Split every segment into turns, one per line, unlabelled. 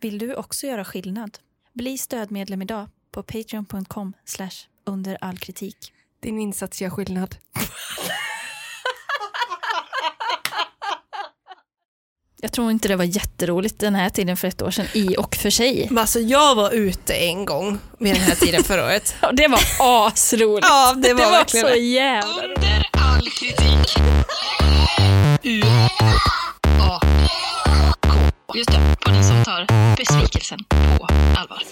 Vill du också göra skillnad? Bli stödmedlem idag på patreon.com under all kritik.
Din insats gör skillnad.
Jag tror inte det var jätteroligt den här tiden för ett år sedan i och för sig.
Men alltså jag var ute en gång vid den här tiden förra året.
Ja, Det var asroligt.
Ja, det
Det
var,
var,
verkligen
så jävla roligt.
Under all kritik. U. E A. K. Just det, på den som tar besvikelsen på allvar.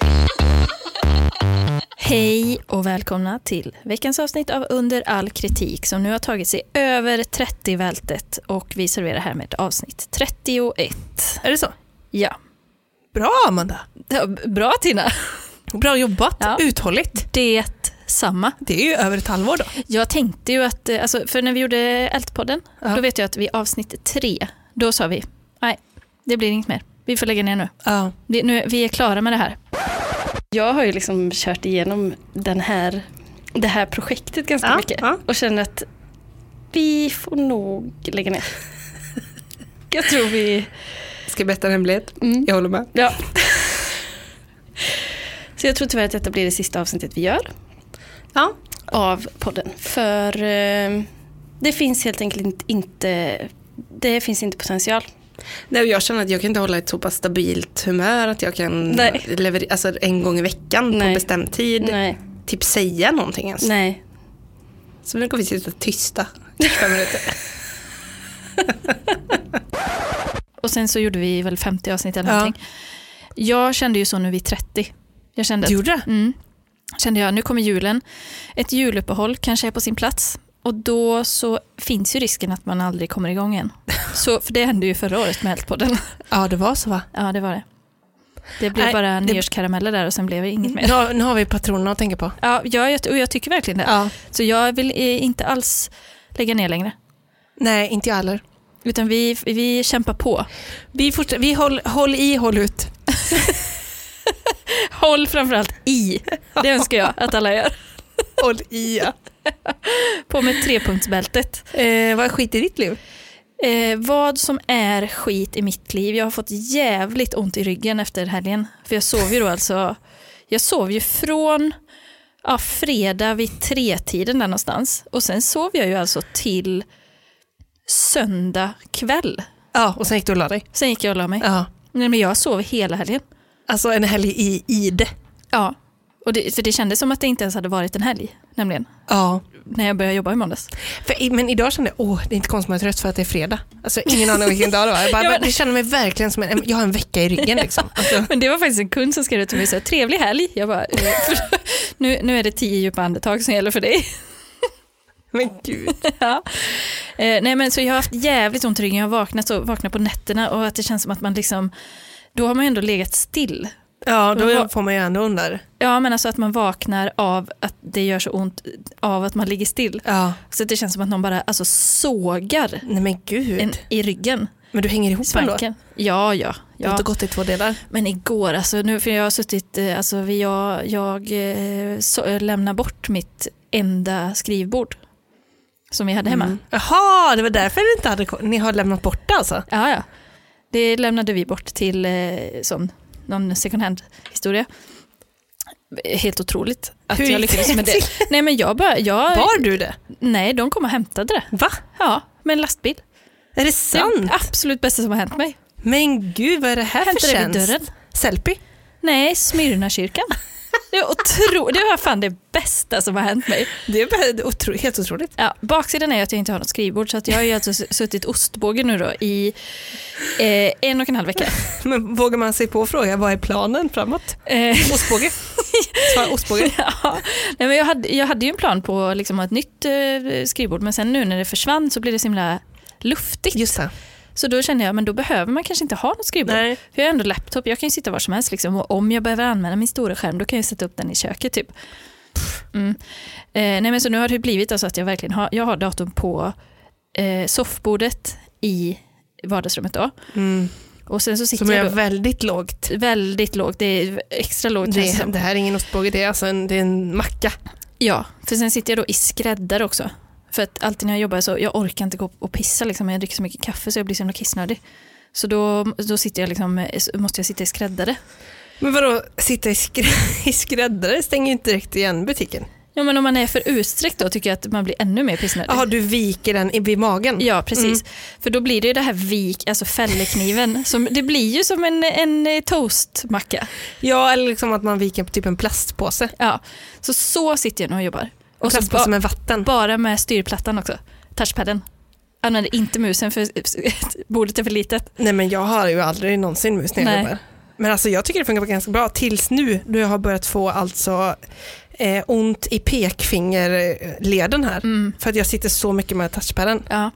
Hej och välkomna till veckans avsnitt av Under all kritik som nu har tagit sig över 30 vältet och vi serverar härmed avsnitt 31.
Är det så?
Ja,
Bra Amanda!
Ja, b- bra Tina.
Bra jobbat,
Ja.
uthålligt.
Det samma.
Det är ju över ett halvår då.
Jag tänkte ju att, eh, alltså, för när vi gjorde Ältpodden,
Ja.
då vet jag att vid avsnitt tre, då sa vi nej, det blir inget mer. Vi får lägga ner nu.
Ja.
Vi, nu, vi är klara med det här.
Jag har ju liksom kört igenom den här, det här projektet ganska
Ja,
mycket
ja.
och känner att vi får nog lägga ner. Jag tror vi...
Ska jag berätta en hemlighet?
Mm,
Jag håller med.
ja. Så jag tror tyvärr att detta blir det sista avsnittet vi gör
Ja.
av podden. För eh, det finns helt enkelt inte- inte, det finns inte potential.
Nej, och jag känner att jag kan inte hålla ett så pass stabilt humör att jag kan
Nej.
leverera alltså, en gång i veckan på
Nej.
bestämd tid.
Nej,
Typ säga någonting ens.
nej.
Så nu kommer vi sitta tysta i fem minuter.
Och sen så gjorde vi väl 50 avsnitt eller
Ja.
någonting. Jag kände ju så nu vid 30. Jag kände att
gjorde det?
Mm. Kände jag, nu kommer julen. Ett juluppehåll kanske är på sin plats. Och då så finns ju risken att man aldrig kommer igång igen. Så, för det hände ju förra året med Eldpodden.
Ja, det var så va?
Ja, det var det. Det Mm. blev
Nej,
bara
det-
nyårskarameller där och sen blev det inget mer.
Nu har, nu har vi patronerna att tänka på.
Ja, jag, jag- och jag tycker verkligen det.
Ja.
Så jag vill eh, inte alls lägga ner längre.
Nej, inte jag heller.
Utan vi, vi kämpar på.
Vi, forts- vi håll, håll i, håll ut.
Håll framförallt i. Det önskar jag att alla gör.
Håll i ja.
På med trepunktsbältet.
eh, Vad är skit i ditt liv?
Eh, vad som är skit i mitt liv. Jag har fått jävligt ont i ryggen efter helgen. För jag sov ju då alltså, jag sov ju från ja, fredag vid tretiden där någonstans. Och sen sov jag ju alltså till söndag kväll.
Ja, och sen gick du och la dig.
Sen gick jag och la mig.
Ja.
Nej, men jag sov hela helgen.
Alltså en helg i ide.
Ja. Och det, för det kändes som att det inte ens hade varit en helg, nämligen.
Ja.
När jag började jobba i måndags.
För, i- men idag kände jag, åh, det är inte konstigt att jag är trött för att det är fredag. Alltså ingen aning om vilken dag det var. Jag, bara,
Ja, men-
jag känner mig verkligen som en, jag har en vecka i ryggen liksom. Alltså,
Men det var faktiskt en kund som skrev till mig så här, trevlig helg. Jag bara, eh, för, nu, nu är det tio djupa andetag som gäller för dig.
men gud.
Ja. Eh, nej men så jag har haft jävligt ont i ryggen, jag har vaknat, så, vaknat på nätterna och att det känns som att man liksom, då har man ju ändå legat still.
Ja, då
Men vad-
får man ju ändå under.
Ja men alltså att man vaknar av att det gör så ont av att man ligger still.
Ja.
Så att det känns som att någon bara alltså, sågar
Nej men gud.
en i ryggen,
Men du hänger ihop ändå?
svanken. Ja, ja.
Det
ja.
har inte gått i två delar.
Men igår, alltså, nu, för jag har suttit, eh, alltså, vi- jag, jag eh, så, eh, lämnar bort mitt enda skrivbord som vi hade hemma.
Mm. Jaha, det var därför det inte hade ko- Ni har lämnat bort det alltså?
Ja, ja. Det lämnade vi bort till eh, sån, någon second hand-historia. Helt otroligt att
Hur gick
jag lyckades
det
med det. Nej, men jag bara, jag,
Var du det?
nej, de kom och hämtade det.
Va?
Ja, med en lastbil.
Är det
Det är
sant?
det absolut bästa som har hänt mig.
Men gud, vad är det här för
Hämtade det vid
tjänst?
dörren.
Selfie?
Nej, Smyrnakyrkan. Det är otroligt, det var fan det bästa som har hänt mig.
Det är bara otro- helt otroligt.
Ja, baksidan är att jag inte har något skrivbord så att jag har ju alltså s- suttit ostbåge nu då i eh, en och en halv vecka.
Men vågar man sig på att fråga, vad är planen framåt?
Eh,
Ostbåge? Svar ostbåge?
ja. Nej, men jag, hade, jag hade ju en plan på att liksom ha ett nytt eh, skrivbord men sen nu när det försvann så blev det så himla luftigt.
Just det.
Så då kände jag men då behöver man kanske inte ha något skrivbord.
Nej.
För jag har ändå laptop, jag kan ju sitta var som helst liksom, och om jag behöver använda min stora skärm då kan jag sätta upp den i köket typ. Mm. Eh, nej men så nu har det blivit alltså att jag verkligen har, jag har datorn på eh, soffbordet i vardagsrummet då.
Mm.
Och sen så sitter
Som är
jag då
väldigt lågt.
väldigt lågt, det är extra lågt känns det
Det,
som.
det här är ingen ostbåge, det är alltså en, det är en macka.
Ja, för sen sitter jag då i skräddar också. För att alltid när jag jobbar så, jag orkar inte gå och pissa liksom, jag dricker så mycket kaffe så jag blir så himla kissnödig. Så då, då sitter jag liksom, måste jag sitta i skräddare.
Men vadå, sitta i, skr i skräddare stänger ju inte direkt igen butiken.
Ja, men om man är för utsträckt då tycker jag att man blir ännu mer pissnödig.
Jaha, du viker den i- vid magen?
Ja, precis.
Mm.
För då blir det ju det här vik, alltså fällekniven. Som, det blir ju som en, en eh, toastmacka.
Ja, eller liksom att man viker typ en plastpåse.
Ja. Så så sitter jag nu och jobbar.
En
Och så
plastpåse
ba-
med vatten.
bara med styrplattan också. Touchpadden. Använder inte musen för bordet är för litet.
Nej men jag har ju aldrig någonsin mus när jag
Nej.
jobbar. Men alltså jag tycker det funkar ganska bra tills nu då jag har börjat få alltså eh, ont i pekfingerleden här.
Mm.
För att jag sitter så mycket med touchpadden.
Ja.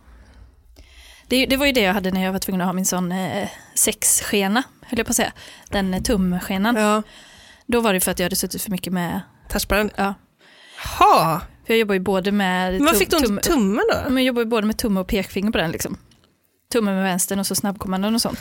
Det, det var ju det jag hade när jag var tvungen att ha min sån eh, sexskena, höll jag på att säga. Den eh, tumskenan.
Ja.
Då var det för att jag hade suttit för mycket med,
Touchpadden.
ja.
Jaha,
För jag jobbar ju både med...
men vad fick du ont i tummen
Ja,
då?
men jag jobbar ju både med tumme och pekfinger på den liksom. Tummen med vänstern och så snabbkommandon och sånt.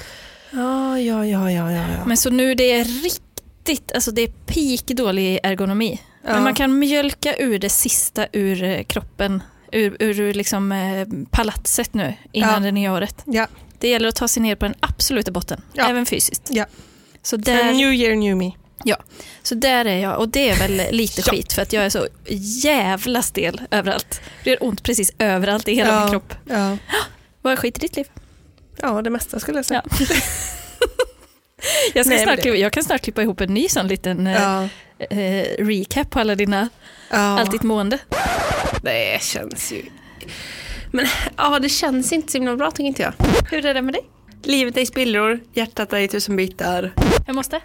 Ja, ja, ja, ja, ja. ja.
Men så nu det är riktigt, alltså det är peak dålig ergonomi.
Ja.
Men man kan mjölka ur det sista ur eh, kroppen, ur, ur liksom eh, palatset nu innan
Ja.
det nya året.
ja.
Det gäller att ta sig ner på den absoluta botten,
Ja.
även fysiskt.
Ja.
Så
A
där,
New year, new me.
så där är jag och det är väl lite
Ja.
skit för att jag är så jävla stel överallt. Det gör ont precis överallt i hela
Ja.
min kropp.
Ja.
Vad är skit i ditt liv?
ja, det mesta skulle jag säga.
Jag, ska
Nej, men
snart
det-
klippa, jag kan snart klippa ihop en ny sån liten eh,
Ja.
eh, recap på alla dina,
Ja.
allt ditt mående.
Det känns ju...
Men ja, det känns inte så himla bra tycker inte jag.
Hur är det med dig?
Livet är i spillror, hjärtat är i tusen bitar.
Jag måste.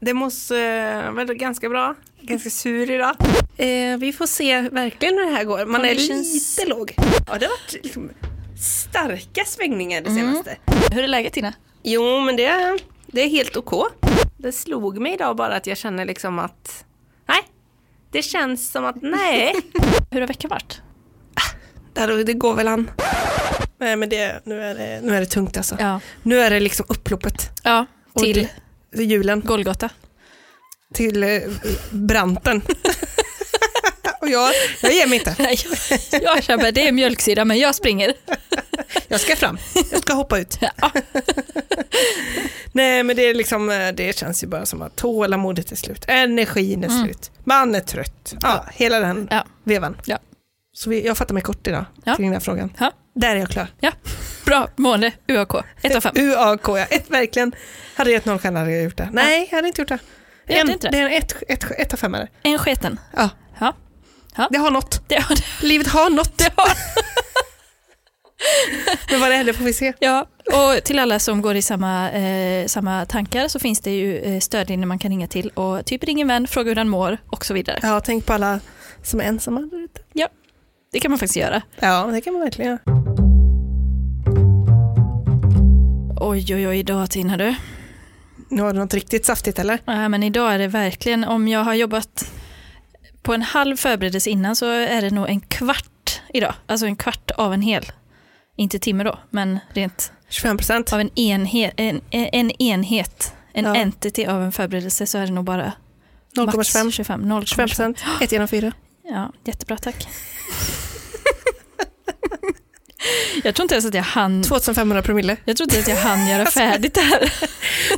Det måste eh, vara ganska bra. Ganska sur idag. Eh, vi får se verkligen hur det här går. Man är
Conditions.
lite låg. Ja, det har varit liksom starka svängningar
Mm.
det senaste.
Hur är läget Tina?
Jo, men det, det är helt okej. Det slog mig idag bara att jag känner liksom att... Nej, det känns som att nej.
Hur har veckan varit?
Där, det går väl an.
Nej men det, nu, är det, nu är det tungt alltså.
Ja.
Nu är det liksom upploppet
ja. Till
till julen.
Golgata.
till eh, branten. och jag, jag ger mig inte.
Nej, jag- jag känner det är mjölksyra men jag springer.
Jag ska fram. Jag ska hoppa ut.
Ja.
Nej men det är liksom, eh, det känns ju bara som att tålamodet är slut, energin är slut, man är trött. Ja, hela den
Mm. Ja.
vevan.
Ja.
Så vi, jag fattar mig kort idag
Ja.
kring den här frågan.
Ja.
Där är jag klar.
ja. Bra mående, UAK. 1 av 5.
UAK, ja. Ett, verkligen. Hade jag gett noll stjärna hade jag gjort det. Nej, jag hade inte gjort det.
Jag hade
En,
inte det.
det är en ett, ett, ett av fem är det.
En sketen.
Ja.
Ja. Ja.
Det har något.
Det har
Livet har något. Men vad det händer får vi se.
Ja, och till alla som går i samma, eh, samma tankar så finns det ju eh, stödlinjer man kan ringa till och typ ring en vän, fråga hur den mår och så vidare.
Ja, tänk på alla som är ensamma där ute.
Det kan man faktiskt göra.
Ja, det kan man verkligen göra.
Oj, oj, oj, idag Tina du.
Nu har du något riktigt saftigt eller?
Nej, men idag är det verkligen, om jag har jobbat på en halv förberedelse innan så är det nog en kvart idag. Alltså en kvart av en hel. Inte timme då, men rent
25 procent.
av en enhet. En, en enhet, en
Ja.
entity av en förberedelse så är det nog bara max
0,25.
25. 0,25.
25 procent. 1 genom 4.
Ja, jättebra tack. jag tror inte ens att jag hann,
2500 promille.
jag tror inte ens att jag hann göra färdigt det här.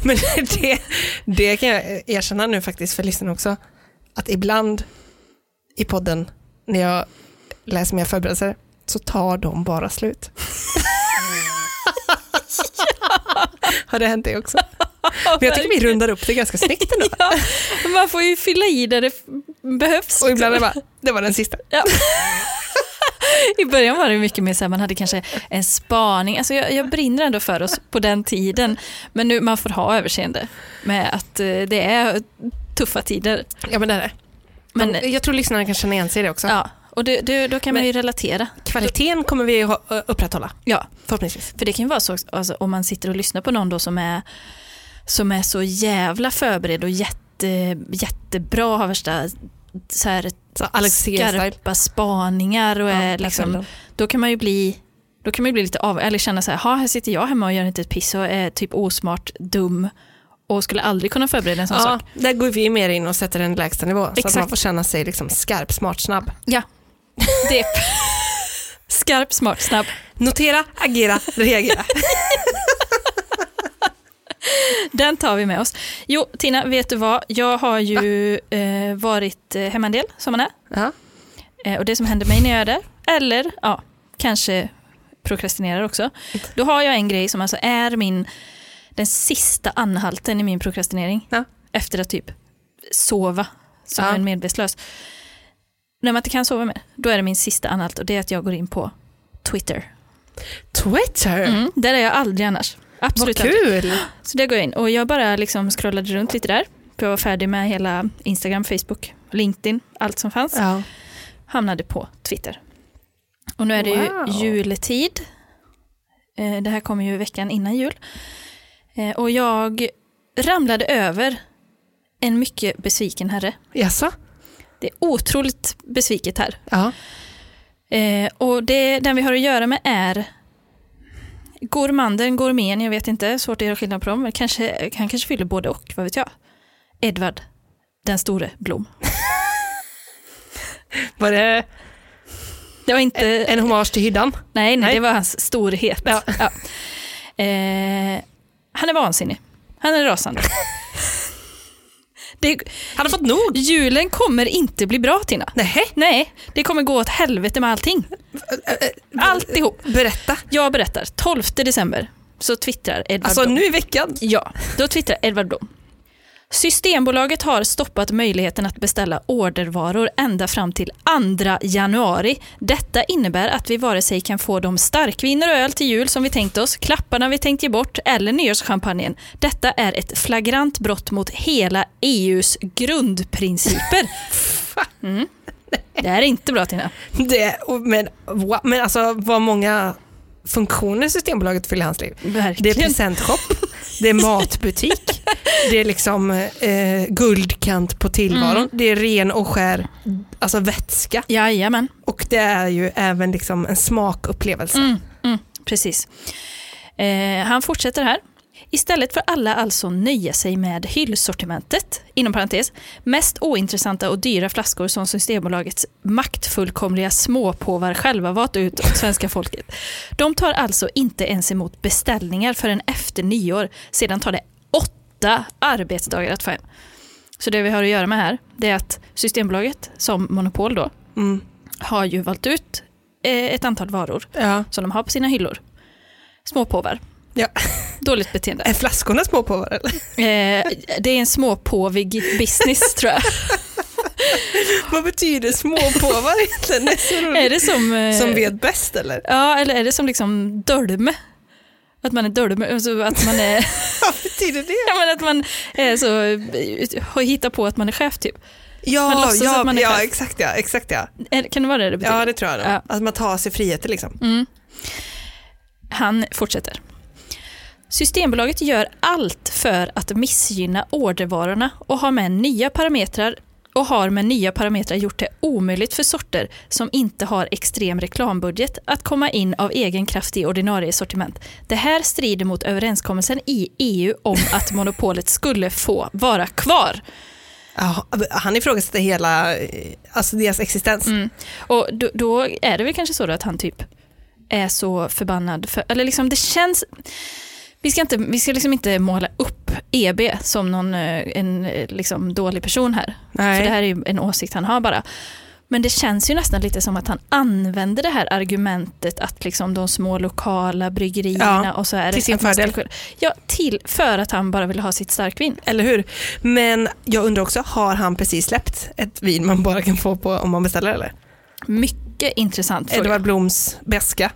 Men det, det kan jag erkänna nu faktiskt för lyssnarna också. Att ibland i podden när jag läser mina förberedelser så tar de bara slut. Har det hänt det också? Men jag tycker vi rundar upp det ganska snyggt ändå.
Ja, man får ju fylla i där det f- behövs.
Och ibland är det bara, det var den sista.
I början var det mycket mer så här, man hade kanske en spaning. Alltså jag, jag brinner ändå för oss på den tiden. Men nu man får ha överseende med att eh, det är tuffa tider.
Ja men det är det.
Men,
Men, jag tror lyssnarna kan känna igen sig i det också.
ja, och det, det, då kan man ju relatera.
Kvaliteten kommer vi ha- upprätthålla,
Ja,
förhoppningsvis.
För det kan ju vara så alltså, om man sitter och lyssnar på någon då som är, som är så jävla förberedd och jätte, jättebra, har värsta så här,
Så eh, Alex Segerstyle.
skarpa spaningar och är,
där föll
liksom,
den.
då kan man ju bli då kan man ju bli lite av, eller känna så här, "Ha, här sitter jag hemma och gör inte ett piss och är typ osmart, dum och skulle aldrig kunna förbereda en sån
Ja,
sak.
där går vi mer in och sätter en lägsta nivå så att
Exakt.
man får känna sig liksom skarp, smart, snabb.
Ja, det är skarp, smart, snabb.
Notera, agera, reagera.
Den tar vi med oss. Jo, Tina, vet du vad? Jag har ju eh, varit eh, hemma en del, som man är.
Ja.
Eh, och det som händer mig när jag är där, eller ja, kanske prokrastinerar också. Då har jag en grej som alltså är min, den sista anhalten i min prokrastinering.
Ja.
Efter att typ sova som
Ja.
en medvetslös. När man inte kan sova mer, då är det min sista anhalt och det är att jag går in på Twitter.
Twitter!
Mm, där är jag aldrig annars.
Vad
Absolut aldrig.
kul!
Så det går jag in och jag bara liksom scrollade runt lite där. För jag var färdig med hela Instagram, Facebook, LinkedIn, allt som fanns.
Ja.
Hamnade på Twitter. Och nu är det
Wow.
ju juletid. Eh, Det här kommer ju veckan innan jul. Eh, Och jag ramlade över en mycket besviken herre.
Jaså?
Det är otroligt besviket här.
Ja.
Eh, och det, den vi har att göra med är gourmanden, gourmen, jag vet inte, svårt att göra skillnad på dem, men kanske, han kanske fyller både och, vad vet jag. Edvard, den store Blom.
Var det
Det var inte,
en hommage till hyddan?
nej, nej,
nej.
det var hans storhet.
Ja.
Ja. Eh, han är vansinnig, han är rasande. Det,
Han har fått nog!
julen kommer inte bli bra Tina.
Nej.
Nej, det kommer gå åt helvete med allting. Alltihop.
eh, Berätta.
Jag berättar, 12 december så twittrar Edvard
Alltså
Blom.
nu i veckan.
Ja, då twittrar Edvard Blom. Systembolaget har stoppat möjligheten att beställa ordervaror ända fram till 2 januari. Detta innebär att vi vare sig kan få de starkviner och öl till jul som vi tänkt oss, klapparna vi tänkt ge bort eller nyårschampagnen. Detta är ett flagrant brott mot hela EUs grundprinciper. Mm. Det här är inte bra Tina.
Det, och- men, wow, men alltså vad många funktioner Systembolaget fyller i hans liv. Det är
Verkligen.
presentshop, det är matbutik, det är liksom eh, guldkant på tillvaron,
Mm.
det är ren och skär alltså vätska
Jajamän.
och det är ju även liksom en smakupplevelse.
Precis. Eh, han fortsätter här. Istället för alla alltså nöja sig med hyllsortimentet, inom parentes, mest ointressanta och dyra flaskor som Systembolagets maktfullkomliga småpåvar själva valt ut åt svenska folket. De tar alltså inte ens emot beställningar förrän efter nyår. Sedan tar det åtta arbetsdagar att få hem. Så det vi har att göra med här, det är att Systembolaget, som monopol då,
Mm.
har ju valt ut eh, ett antal varor
Ja.
som de har på sina hyllor. Småpåvar.
Ja.
Dåligt beteende.
Är flaskorna små på varandra? eller?
Eh, det är en småpåvig business tror jag.
Vad betyder små påvar egentligen? Det är så roligt.
Är det som... eh,
Som vet bäst eller?
Ja, eller är det som liksom dölme? Att man är dölme, alltså att man är...
Vad betyder det?
ja, men att man är så... eh, Hittar på att man är chef typ. Man
Ja,
låtsas
ja,
att man är
ja
chef.
exakt ja, exakt ja.
Är- Kan det vara det det betyder?
Ja det tror jag nog.
Ja. Mm.
Att man tar sig friheter liksom.
Han fortsätter. Systembolaget gör allt för att missgynna ordervarorna och har med nya parametrar och har med nya parametrar gjort det omöjligt för sorter som inte har extrem reklambudget att komma in av egen kraft i ordinarie sortiment. Det här strider mot överenskommelsen i EU om att monopolet skulle få vara kvar.
Ja, han ifrågasätter hela, eh, alltså deras existens.
Mm. Och då, då är det väl kanske så då att han typ är så förbannad. För, eller liksom det känns... Vi ska, inte, vi ska liksom inte måla upp EB som någon, eh, en eh, liksom dålig person här. För det här är ju en åsikt han har bara. Men det känns ju nästan lite som att han använder det här argumentet att liksom de små lokala bryggerierna
Ja,
och så är
till
det
sin
att man ska
fördel.
kunna- Ja, till, för att han bara vill ha sitt starkvin.
Eller hur? Men jag undrar också, har han precis släppt ett vin man bara kan få på om man beställer eller?
Mycket intressant fråga.
Edvard Bloms beska.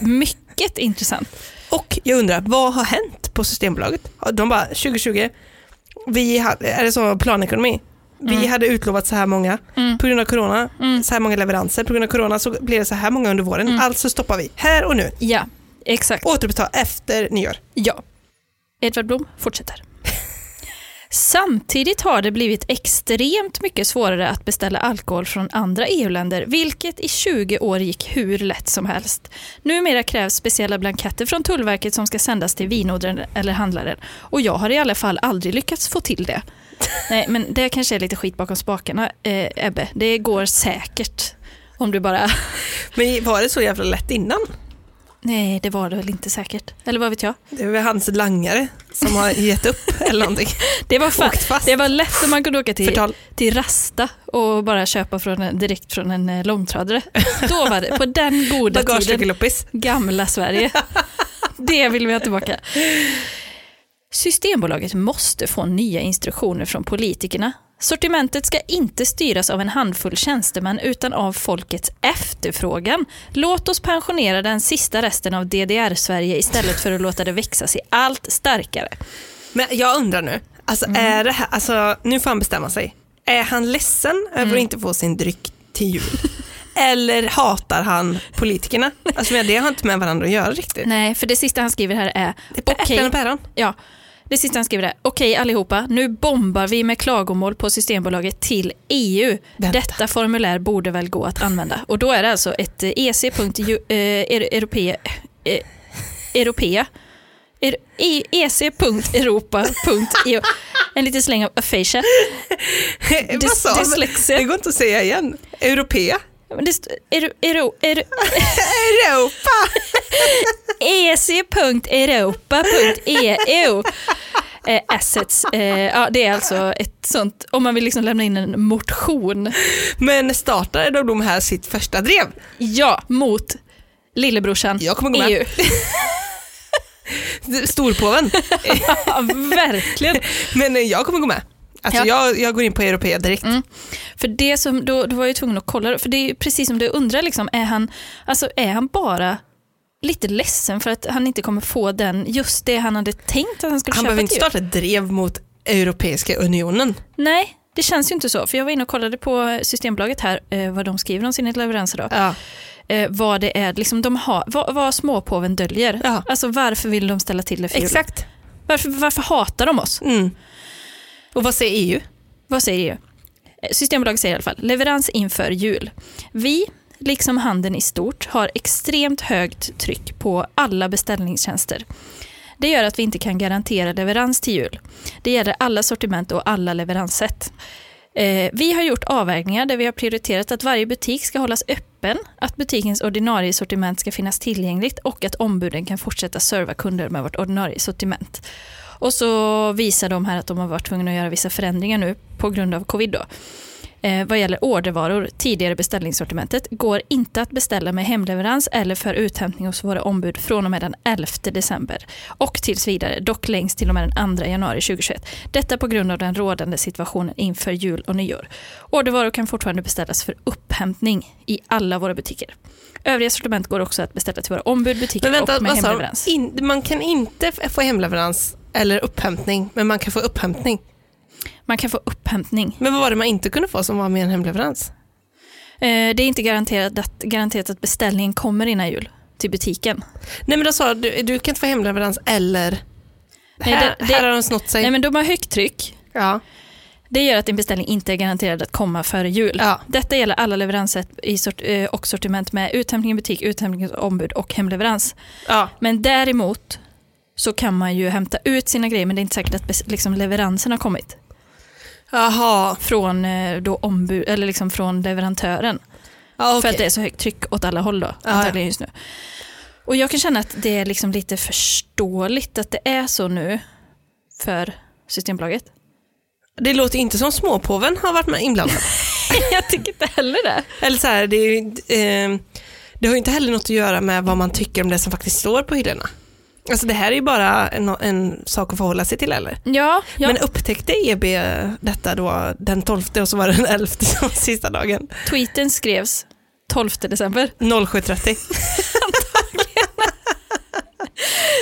Mycket intressant.
Och jag undrar, vad har hänt på Systembolaget? Har De bara, 2020, vi hade, är det så planekonomi? Vi
Mm.
hade utlovat så här många på grund av corona, så här många leveranser. På grund av corona så blir det så här många under våren.
Mm.
Alltså stoppar vi här och nu.
Ja, exakt.
Återuppta efter nyår.
Ja. Edvard Blom fortsätter. Samtidigt har det blivit extremt mycket svårare att beställa alkohol från andra EU-länder, vilket i 20 år gick hur lätt som helst. Numera krävs speciella blanketter från Tullverket som ska sändas till vinodlaren eller handlaren. Och jag har i alla fall aldrig lyckats få till det. Nej, men det kanske är lite skit bakom spakarna, eh, Ebbe. Det går säkert. Om du bara...
Men var det så jävla lätt innan?
Nej, det var det väl inte säkert. Eller vad vet jag?
Det är väl hans langare som har gett upp eller någonting.
Det var, fa-
Åkt fast.
det var lätt om man kunde åka till,
Förtal.
till Rasta och bara köpa från en, direkt från en eh, långtradare. Då var det, på den goda tiden.
Bagage till loppis.
Gamla Sverige. Det vill vi ha tillbaka. Systembolaget måste få nya instruktioner från politikerna. Sortimentet ska inte styras av en handfull tjänstemän utan av folkets efterfrågan. Låt oss pensionera den sista resten av DDR-Sverige istället för att låta det växa sig allt starkare.
Men jag undrar nu, alltså, är det här, alltså, nu får han bestämma sig. Är han ledsen över att inte få sin dryck till jul? eller hatar han politikerna? Alltså, men det har inte med varandra att göra riktigt.
Nej, för det sista han skriver här är...
Det är bara
"Okej,
äpplen och päron.
Ja, det sista han skriver är okej allihopa, nu bombar vi med klagomål på Systembolaget till EU.
Vänta.
Detta formulär borde väl gå att använda. Och då är det alltså ett eh, EC.eu, eh, er- europea, eh, europea er- e- EC.europa.eu E En liten släng av aphasia.
Vad sa han?
dyslexia.
Det går inte att säga igen. Europea.
Men det st- ero- ero- ero-
Europa!
E ec.europa.eu E eh, assets. Eh, ja, det är alltså ett sånt, om man vill liksom lämna in en motion,
Men startade då de här sitt första drev?
ja, mot lillebrorsan E
Jag kommer gå med.
EU.
Storpåven.
Ja, verkligen.
Men eh, jag kommer gå med. Alltså,
Ja.
jag, jag går in på Europea direkt.
För det som, då, då var jag ju tvungen att kolla, för det är ju precis som du undrar, liksom, är, han, alltså, är han bara lite ledsen för att han inte kommer få den, just det han hade tänkt att han skulle
Han
köpa
behöver inte
till
starta ett drev mot Europeiska unionen.
Nej, det känns ju inte så. För jag var inne och kollade på Systembolaget här, eh, vad de skriver om sina leveranser då.
Ja.
Eh, vad det är, liksom de har, vad, vad småpåven döljer.
Ja.
Alltså varför vill de ställa till det för julen?
Exakt.
Varför, varför hatar de oss?
Mm. Och vad säger E EU?
Vad säger EU? Eh, Systembolaget säger i alla fall, leverans inför jul. Vi, liksom handeln i stort, har extremt högt tryck på alla beställningstjänster. Det gör att vi inte kan garantera leverans till jul. Det gäller alla sortiment och alla leveranssätt. Eh, vi har gjort avvägningar där vi har prioriterat att varje butik ska hållas öppen, att butikens ordinarie sortiment ska finnas tillgängligt och att ombuden kan fortsätta serva kunder med vårt ordinarie sortiment. Och så visar de här att de har varit tvungna att göra vissa förändringar nu på grund av covid. Då. Eh, vad gäller ordervaror, tidigare beställningssortimentet, går inte att beställa med hemleverans eller för uthämtning hos våra ombud från och med den 11 december och tills vidare, dock längst till och med den 2 januari 2021. Detta på grund av den rådande situationen inför jul och nyår. Ordervaror kan fortfarande beställas för upphämtning i alla våra butiker. Övriga sortiment går också att beställa till våra ombud, butiker
Men vänta,
och med
vad sa de?
hemleverans.
In, man kan inte f- få hemleverans eller upphämtning, men man kan få upphämtning.
Man kan få upphämtning
Men vad var det man inte kunde få som var med en hemleverans?
Eh, Det är inte garanterat att, garanterat att beställningen kommer innan jul till butiken.
Nej men då sa du, du kan inte få hemleverans eller... här,
det-
här
det-
har de snott sig.
Nej, men de har högt tryck.
ja.
Det gör att din beställning inte är garanterad att komma före jul.
Ja.
Detta gäller alla leveranssätt i sort, eh, och sortiment med uthämtning i butik, uthämtning hos ombud och hemleverans.
Ja.
Men däremot så kan man ju hämta ut sina grejer men det är inte säkert att bes- liksom leveransen har kommit
Jaha.
från, eh, då ombud, eller liksom från leverantören.
Ja,
För
okej.
att det är så högt tryck åt alla håll då,
ja.
antagligen just nu. Och jag kan känna att det är liksom lite förståeligt att det är så nu för Systembolaget.
det låter inte som småpåven har varit med inblandad.
jag tycker inte heller det.
Eller så här, det, är, ju inte- eh, det har ju inte heller något att göra med vad man tycker om det som faktiskt står på hyllorna. Alltså det här är ju bara en, en sak att förhålla sig till eller?
Ja, ja.
Men upptäckte EB detta då den 12 och så var det den 11 som var sista dagen?
tweeten skrevs 12 december.
07.30.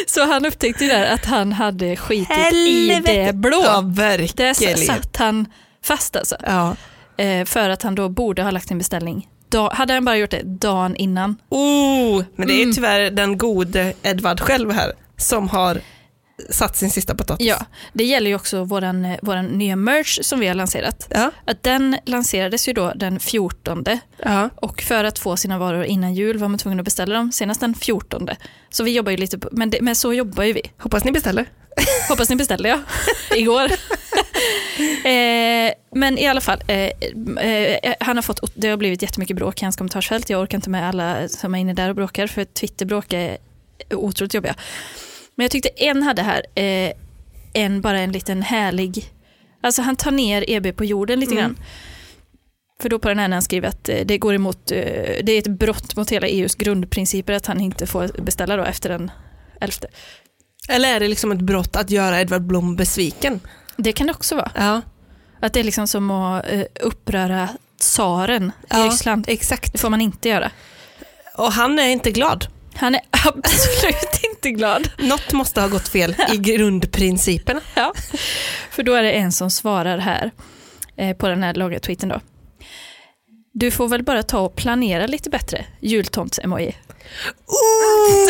Så han upptäckte ju där att han hade skitit i det
Ja,
blå. Där
verkligen.
s- satt han fast alltså.
Ja.
Eh, för att han då borde ha lagt en beställning. Da- hade han bara gjort det dagen innan.
Oh, men det är
Mm.
tyvärr den gode Edvard själv här som har satt sin sista potatis.
Ja, det gäller ju också våran, eh, våran nya merch som vi har lanserat.
Ja.
Att den lanserades ju då den 14
ja.
och för att få sina varor innan jul var man tvungen att beställa dem senast den 14. Så vi jobbar ju lite på, men, det, men så jobbar ju vi.
Hoppas ni beställer.
Hoppas ni beställde ja, igår. eh, men i alla fall, eh, eh, han har fått, det har blivit jättemycket bråk i hans kommentarsfält. Jag orkar inte med alla som är inne där och bråkar för Twitter bråkar otroligt jobbiga. Men jag tyckte en hade här, eh, en bara en liten härlig, alltså han tar ner EB på jorden lite grann. För då på den här när han skriver att eh, det går emot, eh, det är ett brott mot hela EUs grundprinciper att han inte får beställa då efter den elfte.
Eller är det liksom ett brott att göra Edvard Blom besviken?
Det kan det också vara.
Ja,
Att det är liksom som att eh, uppröra tsaren i
Ja.
Ryssland.
exakt.
Det får man inte göra.
Och han är inte glad.
Han är absolut inte glad.
Något måste ha gått fel i grundprinciperna.
Ja. För då är det en som svarar här eh, på den här långa tweeten då. Du får väl bara ta och planera lite bättre, jultomts-emoji.
Ooh,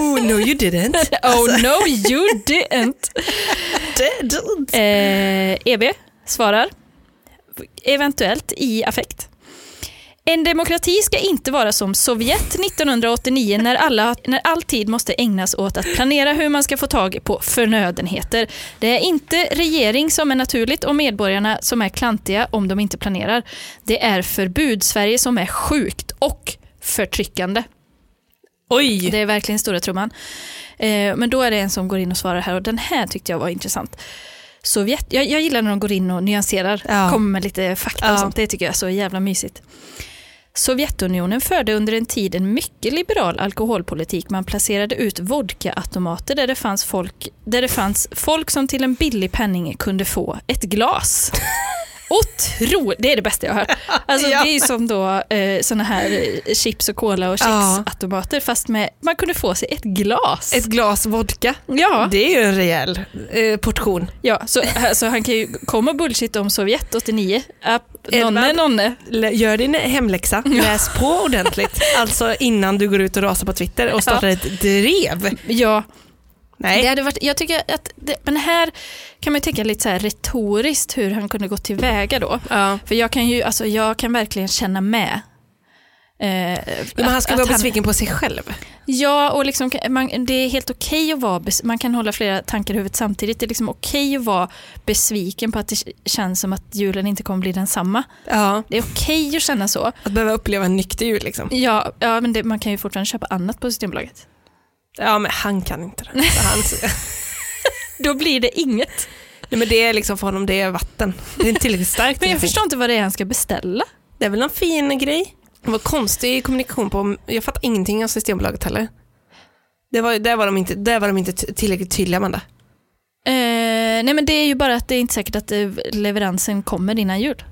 Oh, no you didn't.
Oh
Alltså.
no you didn't! Eh, EB svarar, eventuellt i affekt. En demokrati ska inte vara som Sovjet 1989 när, alla, när all tid måste ägnas åt att planera hur man ska få tag på förnödenheter. Det är inte regering som är naturligt och medborgarna som är klantiga om de inte planerar. Det är förbud-Sverige som är sjukt och förtryckande.
Oj!
Det är verkligen stora trumman. Eh, men då är det en som går in och svarar här och den här tyckte jag var intressant. Sovjet, jag, jag gillar när de går in och nyanserar,
Ja.
kommer med lite fakta
Ja.
och sånt. Det tycker jag är så jävla mysigt. Sovjetunionen förde under en tid en mycket liberal alkoholpolitik. Man placerade ut vodkaautomater där det fanns folk, där det fanns folk som till en billig penning kunde få ett glas. Otroligt, det är det bästa jag har hört. Alltså,
Ja.
Det är ju som då eh, såna här eh, chips och cola och
Ja.
chipsautomater fast med, man kunde få sig ett glas.
Ett glas vodka.
ja,
Det är ju en rejäl eh, portion.
ja så alltså, han kan ju komma och bullshit om Sovjet 89. Äh,
Edvard.
nonne, nonne.
Lä- Gör din hemläxa, läs på ordentligt. Alltså innan du går ut och rasar på Twitter och startar ett drev.
Ja, det
Nej.
hade varit, jag tycker att, det, men här kan man ju tänka lite så här retoriskt hur han kunde gå tillväga då.
Ja.
För jag kan ju, alltså jag kan verkligen känna med. Eh,
Men han
att-
ska
att
vara besviken på sig själv.
Ja, och liksom, man, det är helt okej att vara bes- man kan hålla flera tankar i huvudet samtidigt. Det är liksom okej att vara besviken på att det k- känns som att julen inte kommer bli densamma.
Ja.
Det är okej att känna så.
Att behöva uppleva en nykter jul liksom.
Ja, ja men det, man kan ju fortfarande köpa annat på Systembolaget.
Ja men han kan inte det. Så han,
Då blir det inget.
nej, men det är liksom för honom, det är vatten. Det är inte tillräckligt starkt.
Men jag
helt enkelt.
förstår inte vad det är han ska beställa.
Det är väl någon fin grej. Det var konstig kommunikation på, jag fattar ingenting av Systembolaget heller. Det var, där, var de inte, där var de inte t- tillräckligt tydliga Amanda.
Eh, nej men det är ju bara att det är inte säkert att eh, leveransen kommer innan jul.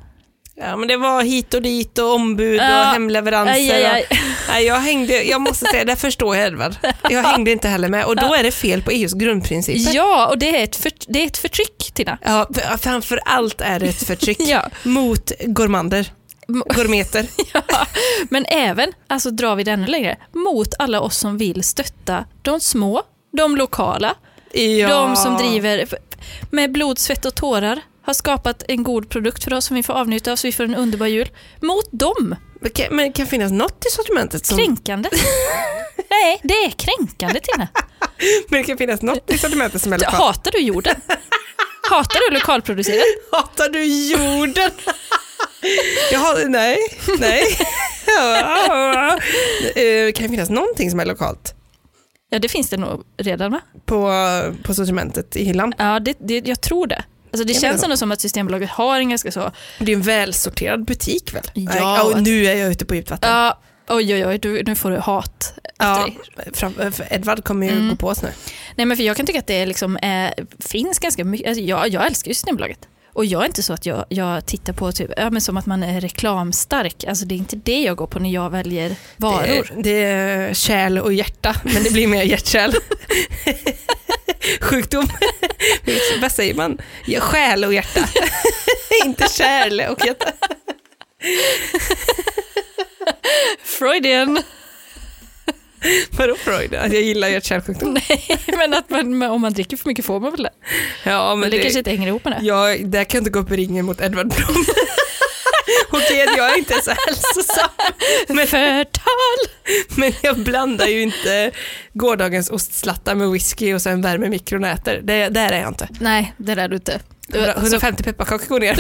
Ja men det var hit och dit och ombud
Ja.
och hemleveranser.
Aj, aj, aj.
Och, nej, jag hängde, jag måste säga, där förstår jag Edvard. Jag hängde inte heller med och då är det fel på E EUs grundprinciper.
Ja, och det är ett, för, det är ett förtryck Tina.
Ja, för- framför allt är det ett förtryck
Ja.
mot gourmander,
Mo-
gourmeter.
Ja, men även, alltså drar vi det ännu längre, mot alla oss som vill stötta de små, de lokala,
Ja.
de som driver f- med blod, svett och tårar har skapat en god produkt för oss som vi får avnjuta av så vi får en underbar jul. Mot dem,
Men kan- Men det kan finnas något i sortimentet som,
kränkande. Nej, det är kränkande Tina.
men det kan finnas något i sortimentet som är lokalt.
Hatar du jorden? Hatar du lokalproducerat?
Hatar du jorden? Jag har, nej, nej. Eh, kan det finnas någonting som är lokalt
Ja, det finns det nog redan va?
på, på sortimentet i hyllan?
Ja, det, det, jag tror det. Alltså det
Jag
känns
menar-
ändå som att Systembolaget har en ganska så,
Det är en välsorterad butik väl?
Ja.
Nej, och nu är jag ute på djupt vatten.
ja, oj oj oj, du, nu får du hat
Ja, fram- för Edvard kommer ju
Mm.
gå på oss nu.
Nej men för jag kan tycka att det liksom, eh, finns ganska mycket, alltså, jag, jag älskar ju Systembolaget. Och jag är inte så att jag, jag tittar på typ, ja, men som att man är reklamstark, alltså det är inte det jag går på när jag väljer varor.
Det, är- det är kärl och hjärta, men det blir mer hjärtkärl. Sjukdom. Vad säger man? Ja, Själ och hjärta. Inte kärl och hjärta.
Freudian!
Vadå Freud? Att jag gillar hjärt-kärlsjukdom?
Nej men att man, om man dricker för mycket får man väl det.
Ja,
Men det, kanske inte hänger ihop med det.
jag, där kan jag inte gå upp i ringen mot Edvard Blom. Okej att jag inte är så hälsosam, men,
Förtal!
men jag blandar ju inte gårdagens ostslattar med whisky och sen värmer mikron och äter. Det, där är jag inte.
Nej, det där du alltså- inte.
Hundra- 150 pepparkakor går ner.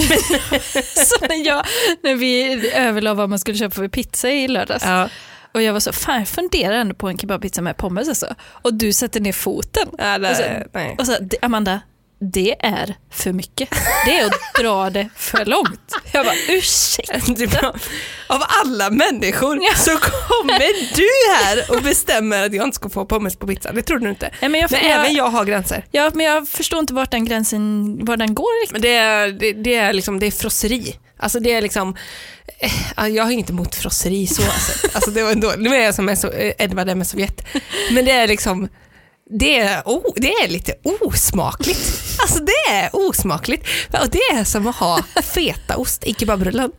Så när, jag, när vi överlade vad man skulle köpa för pizza i lördags.
ja.
Och jag var så, fan jag funderar ändå på en kebabpizza med pommes alltså. Och du sätter ner foten.
Ja, det,
Och så,
nej.
och så, "Det- Amanda, det är för mycket. Det är att dra det för långt. Jag bara, ursäkta.
Det är bra. Av alla människor så kommer du här och bestämmer att jag inte ska få pommes på pizzan. Det trodde du inte.
Nej, men jag,
Men
Alltså, jag,
även jag har gränser.
Ja, men jag förstår inte vart den gränsen var den går riktigt.
Men det, är, det, det är liksom, det är frosseri. Alltså det är liksom, eh, ja, jag har inget emot frosseri så. Alltså, alltså det var ändå, nu är jag som är så, eh, Edvard är med Sovjet. Men det är liksom, det är, oh, det är lite osmakligt. Alltså det är osmakligt. Och det är som att ha fetaost i kebabrullen.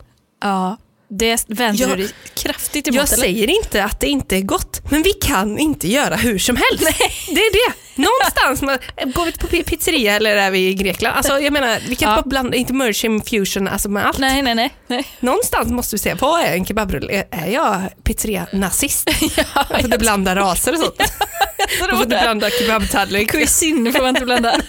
Ja, det vänder
Jag-
du dig kraftigt emot.
Jag
eller?
säger inte att det inte är gott, men vi kan inte göra hur som helst. Det är det. Någonstans, man, går vi på pi- pizzeria eller är vi i Grekland? Alltså, jag menar, vi kan
Ja.
bara blanda, inte merge infusion alltså med allt.
Nej, nej, nej. nej.
Någonstans måste vi se, vad är en kebabrulle? Är- Är jag pizzeria-nazist?
Ja,
Får du blanda raser och sånt? Får du blanda kebabtallrik?
Cuisine får man inte blanda.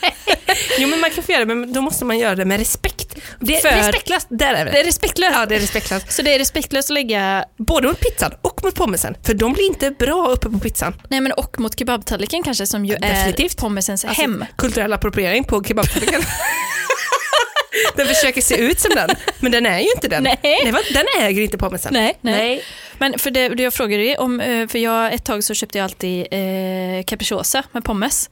Jo men man kan få göra det, men då måste man göra det med respekt. Det är
För-
respektlöst, där är
Det
det.
är respektlöst.
Ja, det är respektlöst.
Så det är respektlöst att lägga,
Både mot pizzan och mot pommesen, för de blir inte bra uppe på pizzan.
nej men och mot kebabtallriken kanske som ju
definitivt.
är pommesens
Alltså,
hem.
Kulturell appropriering på kebabtallriken. den försöker se ut som den, men den är ju inte den.
Nej.
va? den äger inte pommesen.
Nej, nej. Men för det, det jag frågade dig om, eh, för jag ett tag så köpte jag alltid eh, capricciosa med pommes.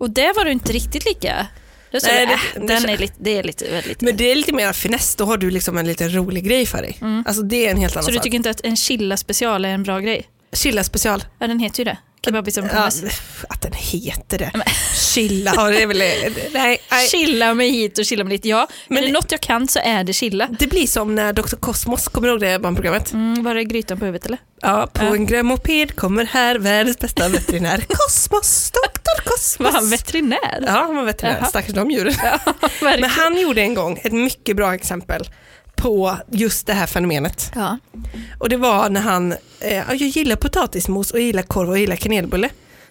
Och det var du inte riktigt lika. Då sa
Nej,
du,
det-
äh,
det-
den är lite, det är lite väldigt...
Men det är lite mer finess, då har du liksom en lite rolig grej för dig. Alltså det är en helt annan
så du
sak.
tycker inte att en chilla special är en bra grej?
Chilla special.
Ja, den heter ju det. Kebabpizza med
Ja,
pommes.
att den heter det. Chilla, ja, det är väl... Nej, nej.
Chilla mig hit och chilla mig dit. Ja,
Men
är det
det-
något jag kan så är det chilla.
Det blir som när Dr. Cosmos, kommer du ihåg det barnprogrammet?
Mm, var det grytan på huvudet eller?
Ja, på
Ja.
en grön moped kommer här världens bästa veterinär. Cosmos, Dr.
Var
Cosmos.
han veterinär?
Ja, han var veterinär.
Jaha.
Stackars de djuren.
Verkligen.
Men han gjorde en gång ett mycket bra exempel på just det här fenomenet.
Ja.
Och det var när han, eh, jag gillar potatismos och jag gillar korv och jag gillar kanelbulle.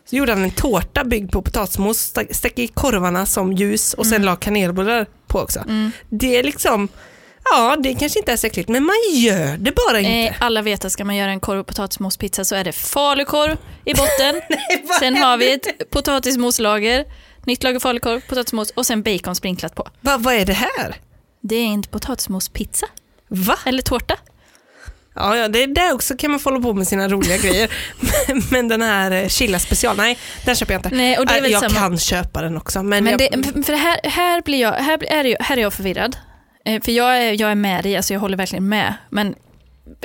Så gjorde han en tårta byggd på potatismos, stack- stack i korvarna som ljus och sen
Mm.
la kanelbullar på också. Det är liksom, ja det kanske inte är så äckligt men man gör det bara inte.
Eh, alla vet att ska man göra en korv och potatismospizza så är det falukorv i botten.
vad
sen har vi ett potatismoslager, nytt lager falukorv, potatismos och sen bacon sprinklat på.
Va, vad är det här?
Det är inte potatismospizza
Va?
eller tårta.
Ja, ja, det där också kan man få hålla på med sina roliga grejer. Men- men den här eh, chilla special, nej den köper jag inte.
Nej, Mm, och det är
Äh,
väl
jag
samma-
kan köpa den också. Men,
Men
jag,
det, för här, här, blir jag, här, blir- är jag, här är jag förvirrad. Eh, För jag är, jag är med dig, alltså jag håller verkligen med. Men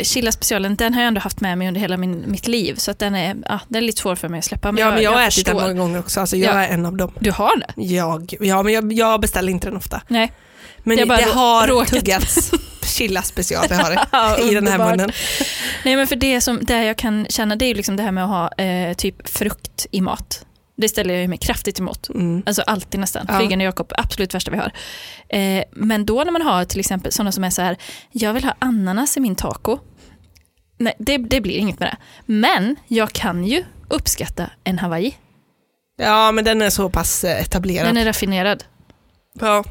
Chilla specialen, den har jag ändå haft med mig under hela min, mitt liv. Så att den, är, ja, den är lite svår för mig att släppa. Men
ja, men jag har ätit den
förstår.
många gånger också, alltså jag
Ja.
är en av dem.
Du har det?
Jag, ja, men jag, jag beställer inte den ofta.
Nej.
Men
Jag
det,
bara rå-
har
råkat.
tuggats chilla special, det har
Ja,
det. I den här
underbart.
munnen.
Nej men för det som det jag kan känna det är ju liksom det här med att ha eh, typ frukt i mat. Det ställer jag ju mig kraftigt emot.
Mm.
Alltså alltid nästan.
Ja.
Flygande Jakob, absolut värsta vi har. Eh, men då när man har till exempel sådana som är så här, jag vill ha ananas i min taco. Nej, det, det blir inget med det. Men jag kan ju uppskatta en hawaii.
Ja, men den är så pass eh, etablerad.
Den är raffinerad.
Ja.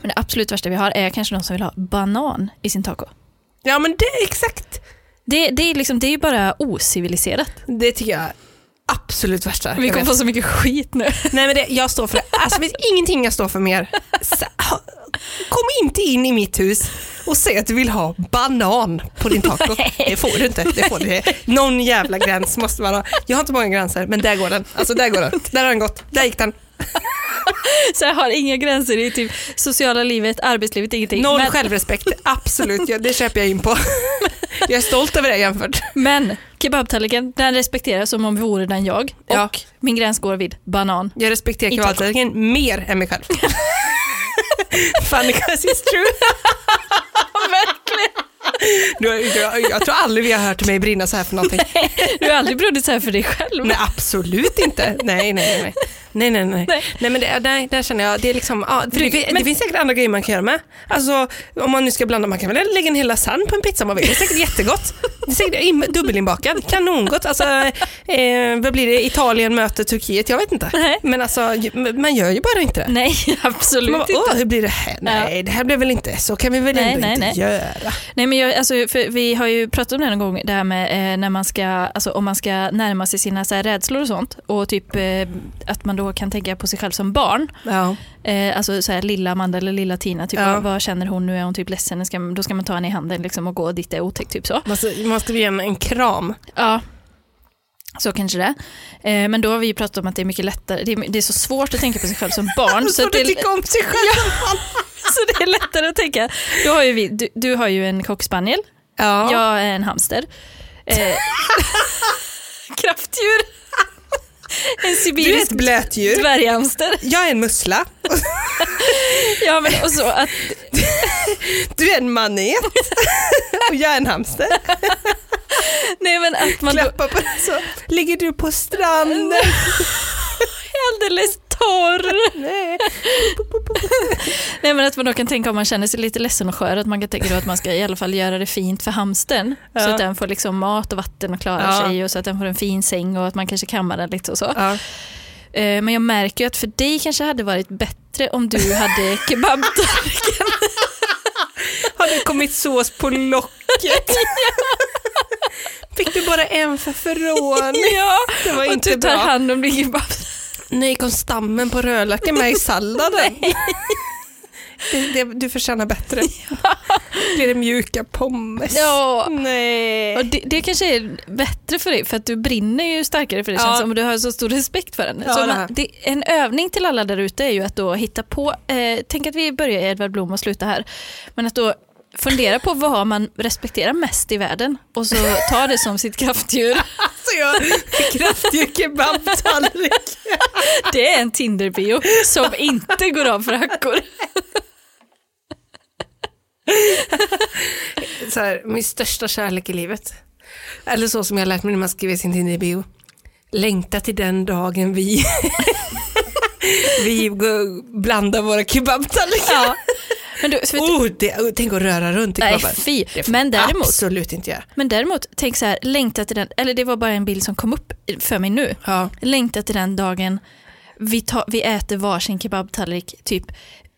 Men det absolut värsta vi har är kanske de som vill ha banan i sin taco.
ja, men det exakt.
Det, det, är, liksom, det är ju bara ociviliserat.
Det tycker jag är absolut värsta.
Vi
jag
kommer
vet.
få så mycket skit nu.
Nej men det, jag står för det. Alltså det finns ingenting jag står för mer. Så, ha- kom inte in i mitt hus och säg att du vill ha banan på din taco. Det får du inte. Det får du. Någon jävla gräns måste man ha. Jag har inte många gränser men där går den. Alltså där går den. Där har den gått. Där gick den.
Så jag har inga gränser i typ sociala livet, arbetslivet, ingenting.
Noll
men,
självrespekt. Absolut, ja, det köper jag in på. Jag är stolt över det jämfört.
men kebabtallriken, den respekteras som om vore den jag. Och
Ja.
min gräns går vid banan.
Jag respekterar
Inte taco.
kebabtallriken mer än mig själv. Funny cause it's true. Verkligen. Du, jag, jag tror aldrig vi har hört mig brinna så här för någonting.
Du har aldrig brunnit så här för dig själv.
Nej, absolut inte. Nej, nej, nej. Nej, nej, nej. Nej, men det, nej, där känner jag, det är liksom, ja, för det, det finns säkert andra grejer man kan göra med. Alltså, om man nu ska blanda, man kan väl lägga en hel lasagne på en pizza om man vill. Det är säkert jättegott. Det är säkert in, dubbelinbakad, kanongott. Alltså, eh, vad blir det, Italien möter Turkiet, jag vet inte.
Nej.
Men alltså, ju- man gör ju bara inte det.
Nej, absolut
Man bara,
inte.
Åh, hur blir det här? Nej, det här blev väl inte, så kan vi väl
Nej,
ändå
nej,
inte
nej.
göra.
Nej, men jag, alltså, för vi har ju pratat om det någon gång, det här med eh, när man ska, alltså, om man ska närma sig sina så här, rädslor och sånt. Och typ eh, att man då kan tänka på sig själv som barn.
Ja.
Eh, alltså så här, lilla Amanda eller lilla Tina, typ,
Ja.
vad, vad känner hon nu? Är hon typ ledsen? Ska, då ska man ta henne i handen liksom, och gå dit det är otäckt. Typ så.
Man ska, man ska ge en, en kram.
Ja. Så kanske det. Eh, men då har vi ju pratat om att det är mycket lättare, det är, det är så svårt att tänka på sig själv som barn. så
Så
att det,
du
är-
tycker om sig själv.
så det är lättare att tänka. Då har ju vi, du, du har ju en cockspaniel,
Ja.
jag är en hamster. Eh, kraftdjur. En
Du är ett
sibirisk
blötdjur.
dvärghamster.
Jag är en mussla.
Ja, men, och så att,
Du är en manet. Och jag är en hamster.
nej, men att man då,
Klappa på den så. Ligger du på stranden?
alldeles torr.
Nej.
Nej men att man då kan tänka om man känner sig lite ledsen och skör att man kan tänka då att man ska i alla fall göra det fint för hamsten så
Ja.
att den får liksom mat och vatten och klarar
Ja.
sig och så att den får en fin säng och att man kanske kammar den lite och så.
Ja.
Eh, Men jag märker ju att för dig kanske hade varit bättre om du hade kebabtallriken.
Har det kommit sås på locket? Fick du bara en för förråning?
ja,
Det var
och du
inte
tar
bra.
hand om din kebab.
Nej, kom stammen på rödlöken med i salladen? Det, det, du förtjänar bättre. Blir det mjuka pommes?
Ja.
Nej.
Och det, det kanske är bättre för dig för att du brinner ju starkare för det
Ja.
känns som och du har så stor respekt för den.
Ja,
så
det
man,
här.
det, en övning till alla där ute är ju att då hitta på, eh, tänk att vi börjar i Edvard Blom och slutar här, men att då fundera på vad man respekterar mest i världen och så ta det som sitt kraftdjur.
Så jag kraftig kebabtallrik.
Det är en Tinder-bio som inte går av för hackor.
så här, min största kärlek i livet. Eller så som jag lärt mig när man skriver sin Tinder-bio. Längta till den dagen vi, vi går- blandar våra kebabtallrikar.
Ja. Men du, för,
Oh, det, oh, tänk att röra runt i
nej
kebabbar.
fy, men däremot,
Absolut inte göra.
men däremot, tänk så här, längta till den, eller det var bara en bild som kom upp för mig nu.
Ja.
längtar till den dagen vi, ta, vi äter varsin kebabtallrik typ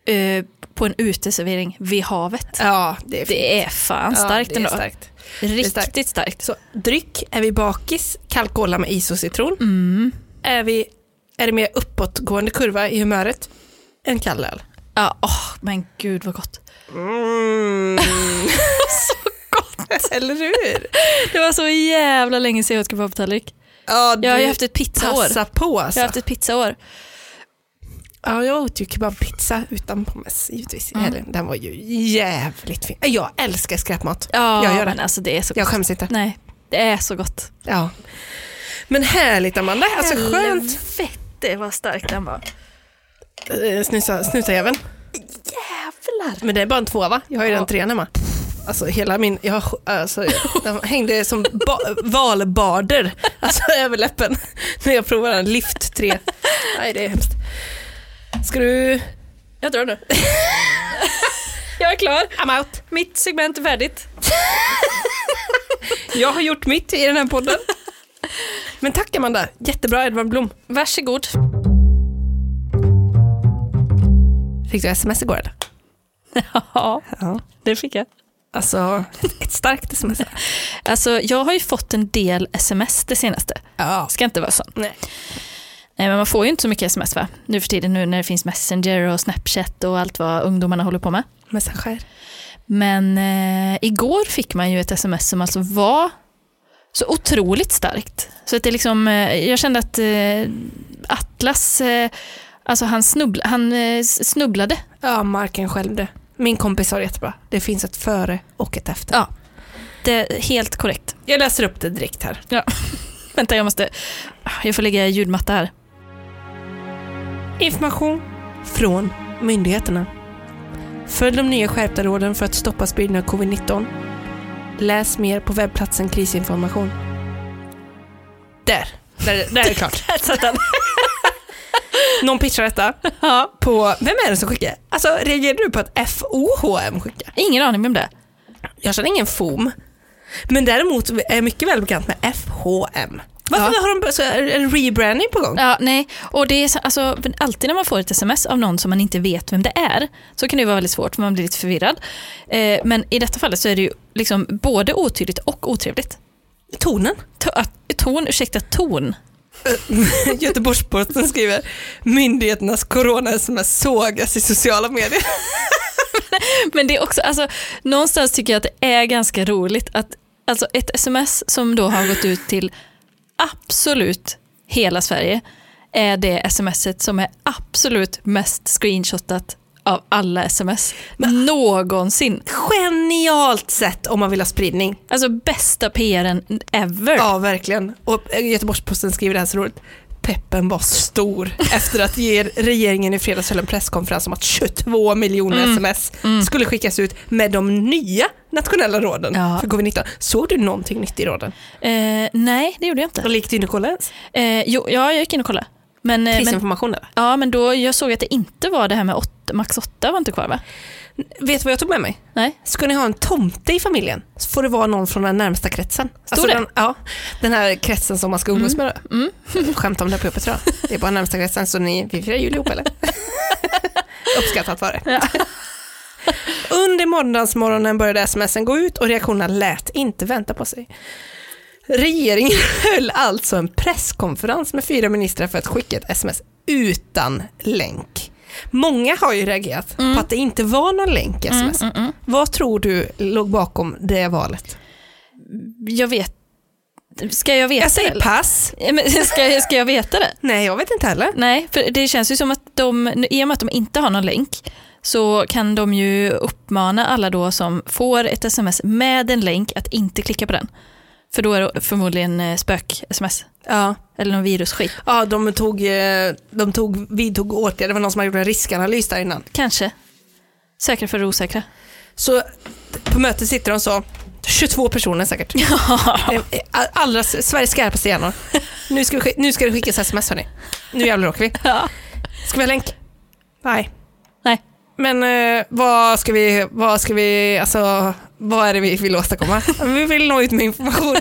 eh, på en uteservering vid havet.
ja, det är fint.
Det är fan starkt
ja, det är
ändå.
starkt.
Riktigt
starkt.
starkt.
Så dryck, är vi bakis, kalkola med is och citron.
Mm.
Är, vi, är det mer uppåtgående kurva i humöret? En kall öl.
Ja, åh, men gud vad gott. Mm.
Eller hur?
Det var så jävla länge sedan jag åt kebabtallrik.
Ja,
Jag har ju
du-
haft ett pizzaår.
Passa på
Jag
alltså.
har haft ett pizzaår.
Ja, jag åt ju kebabpizza utan pommes givetvis.
Mm.
Eller, den var ju jävligt fin. Äh, Jag älskar skräpmat.
Ja,
Jag gör det.
men alltså det är så
Jag
gott.
skäms inte.
Nej, det är så gott.
Ja. Men härligt Amanda, alltså skönt.
Helvete vad stark den var.
Eh, Snusa, snusa även. Jävlar. Men det är bara en tvåa va? Jag har ju den trean hemma. Alltså hela min, jag, har- alltså, den hängde som ba, valbarder, alltså överläppen, när jag provade den. Lift 3. Nej det är hemskt. Ska du?
Jag drar nu. jag är klar.
I'm out.
Mitt segment är färdigt.
Jag har gjort mitt i den här podden. Men tack Amanda, jättebra Edvard Blom.
Varsågod.
Fick du sms igår eller?
Ja,
Ja.
det fick jag.
Alltså, ett- ett starkt sms.
Alltså, jag har ju fått en del sms det senaste.
Ja.
Ska inte vara sån.
Nej.
Nej, men man får ju inte så mycket sms va? Nu för tiden nu när det finns Messenger och Snapchat och allt vad ungdomarna håller på med.
Messager.
Men eh, igår fick man ju ett sms som alltså var så otroligt starkt. Så att det liksom, eh, jag kände att eh, Atlas, eh, alltså han, snubbla, han eh, snubblade.
Ja, marken själv det. Min kompis har jättebra. Det finns ett före och ett efter.
Ja. Det är helt korrekt.
Jag läser upp det direkt här.
Vänta, jag måste, Ah, jag får lägga ljudmatta här.
Information från myndigheterna. Följ de nya skärpta råden för att stoppa spridningen av covid-19. Läs mer på webbplatsen krisinformation. Där, där, där är det klart. Någon pitchar detta. På, vem är det som skickar? Alltså reagerar du på att FOHM skickar?
Ingen aning om det.
Jag känner ingen FOM. Men däremot är jag mycket väl bekant med FHM. Varför har de bör- så är det en rebranding på gång?
Ja, nej. Och det är så- alltså, för alltid när man får ett sms av någon som man inte vet vem det är så kan det ju vara väldigt svårt för man blir lite förvirrad. Eh, men i detta fallet så är det ju liksom både otydligt och otrevligt.
Tonen.
To- att- Ton, ursäkta, ton.
Göteborgs-Posten skriver myndigheternas corona-sms sågas i sociala medier.
Men det är också, alltså, någonstans tycker jag att det är ganska roligt att alltså, ett sms som då har gått ut till absolut hela Sverige är det smset som är absolut mest screenshotat av alla sms någonsin.
Genialt sätt om man vill ha spridning.
Alltså bästa PRn ever.
Ja, verkligen. Och eh, Göteborgs-Posten skriver det här så roligt. Peppen var stor efter att ge regeringen i fredags höll en presskonferens om att 22 miljoner sms
Mm.
skulle skickas ut med de nya nationella råden
Ja.
för covid-19. Såg du någonting nytt i råden?
Eh, nej, det gjorde jag inte.
Gick du in och kollade ens?
Eh, jo, ja, jag gick in och kollade. Men, eh, men,
Prisinformation eller?
ja, men då, jag såg att det inte var det här med åtta, max åtta var inte kvar va?
Vet du vad jag tog med mig?
Nej.
Ska ni ha en tomte i familjen så får det vara någon från den närmsta kretsen. Alltså
det? Mm.
Den, ja, den här kretsen som man ska umgås med. då. Skämt om det på öppet tror jag. Det är bara närmsta kretsen så ni, vi firar jul ihop eller? Uppskattat var det. Under måndagsmorgonen började smsen gå ut och reaktionerna lät inte vänta på sig. Regeringen höll alltså en presskonferens med fyra ministrar för att skicka ett sms utan länk. Många har ju reagerat på att det inte var någon länk i
Mm,
sms. Vad tror du låg bakom det valet?
Jag vet. Ska jag veta
Jag
det?
säger
eller?
pass.
Ja, men Ska, jag- ska jag veta det?
Nej, jag vet inte heller.
Nej, för det känns ju som att de, i och med att de inte har någon länk, så kan de ju uppmana alla då som får ett sms med en länk att inte klicka på den. För då är det förmodligen eh, spök-sms
Ja.
eller någon virusskit.
Ja, de tog, eh, de tog, vidtog åtgärder, det var någon som hade gjort en riskanalys där innan.
Kanske. Säkra för det osäkra.
Så på mötet sitter de så, 22 personer säkert. Eh, Allra, Sveriges skarpaste hjärnor. Nu ska, vi, sk- nu ska det skickas sms hörni. Nu jävlar åker vi.
Ja.
Ska vi ha länk? Nej.
Nej.
Men eh, vad ska vi, vad ska vi, alltså vad är det vi vill åstadkomma? Vi vill nå ut med information.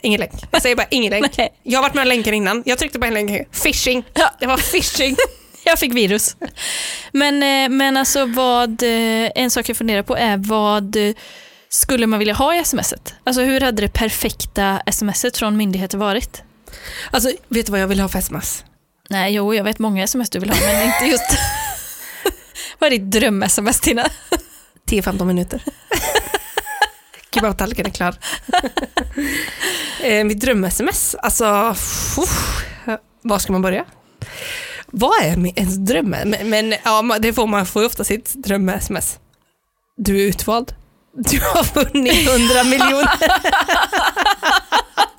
Ingen länk. Jag säger bara ingen länk.
Nej.
Jag har varit med om länkar innan. Jag tryckte på en länk. Phishing.
Ja.
Det var phishing.
Jag fick virus. Men, eh, men alltså vad, eh, en sak jag funderar på är vad eh, skulle man vilja ha i smset? Alltså hur hade det perfekta smset från myndigheter varit?
Alltså vet du vad jag vill ha för sms?
Nej, jo, jag vet många sms du vill ha, men inte just... Vad är ditt dröm-sms, Tina?
10-15 minuter. Kebabtallriken är klar. eh, mitt dröm-sms, alltså... Uff, var ska man börja? Vad är mi- ens dröm? Men, men ja, ma- det får man får ju ofta sitt dröm-sms. Du är utvald. Du har vunnit 100 miljoner.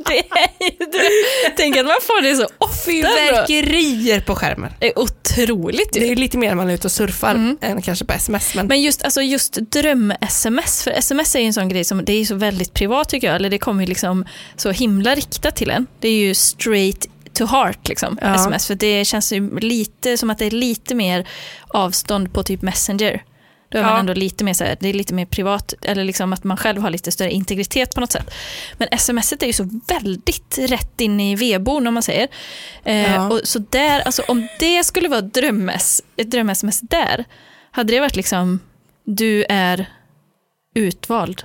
Det är ju dröm. Tänk att man får det så ofta. då.
Fyrverkerier på skärmen.
Det är otroligt
Det
ju.
är lite mer när man är ute och surfar än kanske på sms. Mm. Men,
Men just, alltså just dröm-sms, för sms är ju en sån grej som det är ju så väldigt privat tycker jag, eller det kommer ju liksom så himla riktat till en. Det är ju straight to heart liksom,
Ja.
sms, för det känns ju lite som att det är lite mer avstånd på typ messenger. Då är man
Ja.
ändå lite mer, så här, det är lite mer privat, eller liksom att man själv har lite större integritet på något sätt. Men sms är ju så väldigt rätt in i vedboden om man säger. Eh,
Ja.
och så där, alltså, om det skulle vara dröm-s- ett dröm-sms där, hade det varit liksom du är utvald?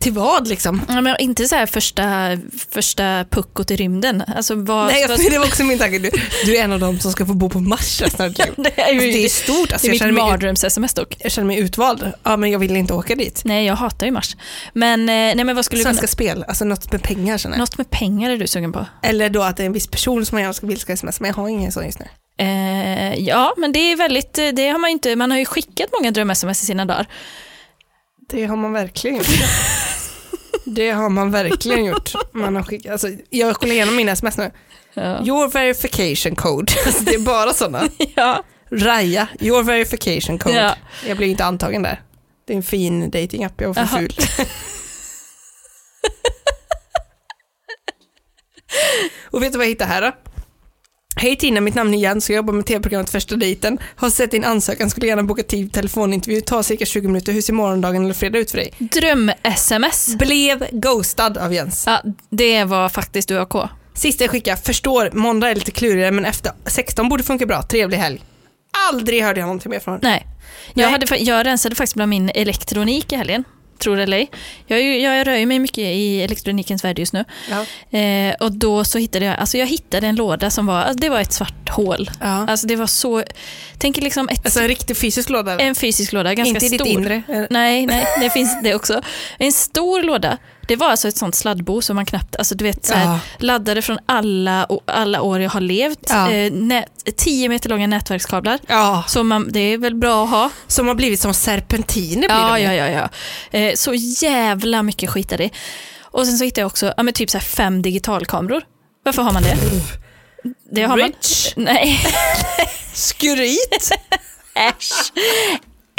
till vad liksom?
Ja, men inte så här första, första puckot i rymden. Alltså, vad,
Nej,
vad,
jag, det var också min tanke. Du, du är en av dem som ska få bo på Mars resten av ditt liv.
det är ju
Alltså, det är
det,
stort. Alltså,
är
jag, känner
mitt
mig, ut-
mardröms-sms dock.
jag känner mig utvald. Ja, men jag vill inte åka dit.
Nej, jag hatar ju Mars. Men, eh, nej, men vad skulle du
Svenska
kunna,
Spel, alltså något med pengar känner jag.
något med pengar är du sugen på?
Eller då att det är en viss person som man gärna ska- vill ska smsa, men jag har ingen sån just nu.
Eh, ja, men det är väldigt, eh, det har man ju inte, man har ju skickat många dröm-sms i sina dagar.
Det har man verkligen gjort. det har man verkligen gjort. Man har skickat, alltså, jag kollar igenom mina sms nu.
Ja.
Your verification code. Alltså, det är bara sådana.
Ja.
Raja, your verification code.
Ja.
Jag blir inte antagen där. Det är en fin datingapp, jag var för
Jaha.
ful. Och vet du vad jag hittade här då? Hej Tina, mitt namn är Jens och jag jobbar med tv-programmet Första dejten. Har sett din ansökan, skulle gärna boka tid telefonintervju, ta cirka 20 minuter. Hur ser morgondagen eller fredag ut för dig?
Dröm-sms.
Blev ghostad av Jens.
Ja, det var faktiskt UAK.
Sista jag skickade, förstår, måndag är lite klurigare men efter 16 borde funka bra. Trevlig helg. Aldrig hörde jag någonting mer från honom.
Nej. Jag,
Nej.
hade, fa- jag rensade faktiskt bland min elektronik i helgen. Tror det eller ej. Jag, är ju- jag rör ju mig mycket i elektronikens värld just nu.
Ja.
Eh, och då så hittade jag, alltså jag hittade en låda som var, alltså det var ett svart hål.
Ja.
Alltså det var så, tänk er liksom ett,
Alltså en riktig fysisk låda? eller?
en fysisk låda, ganska
Inte i
stor.
ditt inre?
Nej, nej, det finns det också. En stor låda, det var alltså ett sånt sladdbo som man knappt, alltså du vet så här,
Ja.
laddade från alla, och- alla år jag har levt.
Ja.
Eh, nät, 10 meter långa nätverkskablar.
Ja,
Så man, det är väl bra att ha.
som har blivit som serpentiner. Blir
Ja,
de ju.
ja, ja, ja. Eh, så jävla mycket skit är det. Och sen så hittade jag också ja, men typ så här fem digitalkameror. Varför har man det? Det har man.
Rich,
Nej,
skryt.
äsch.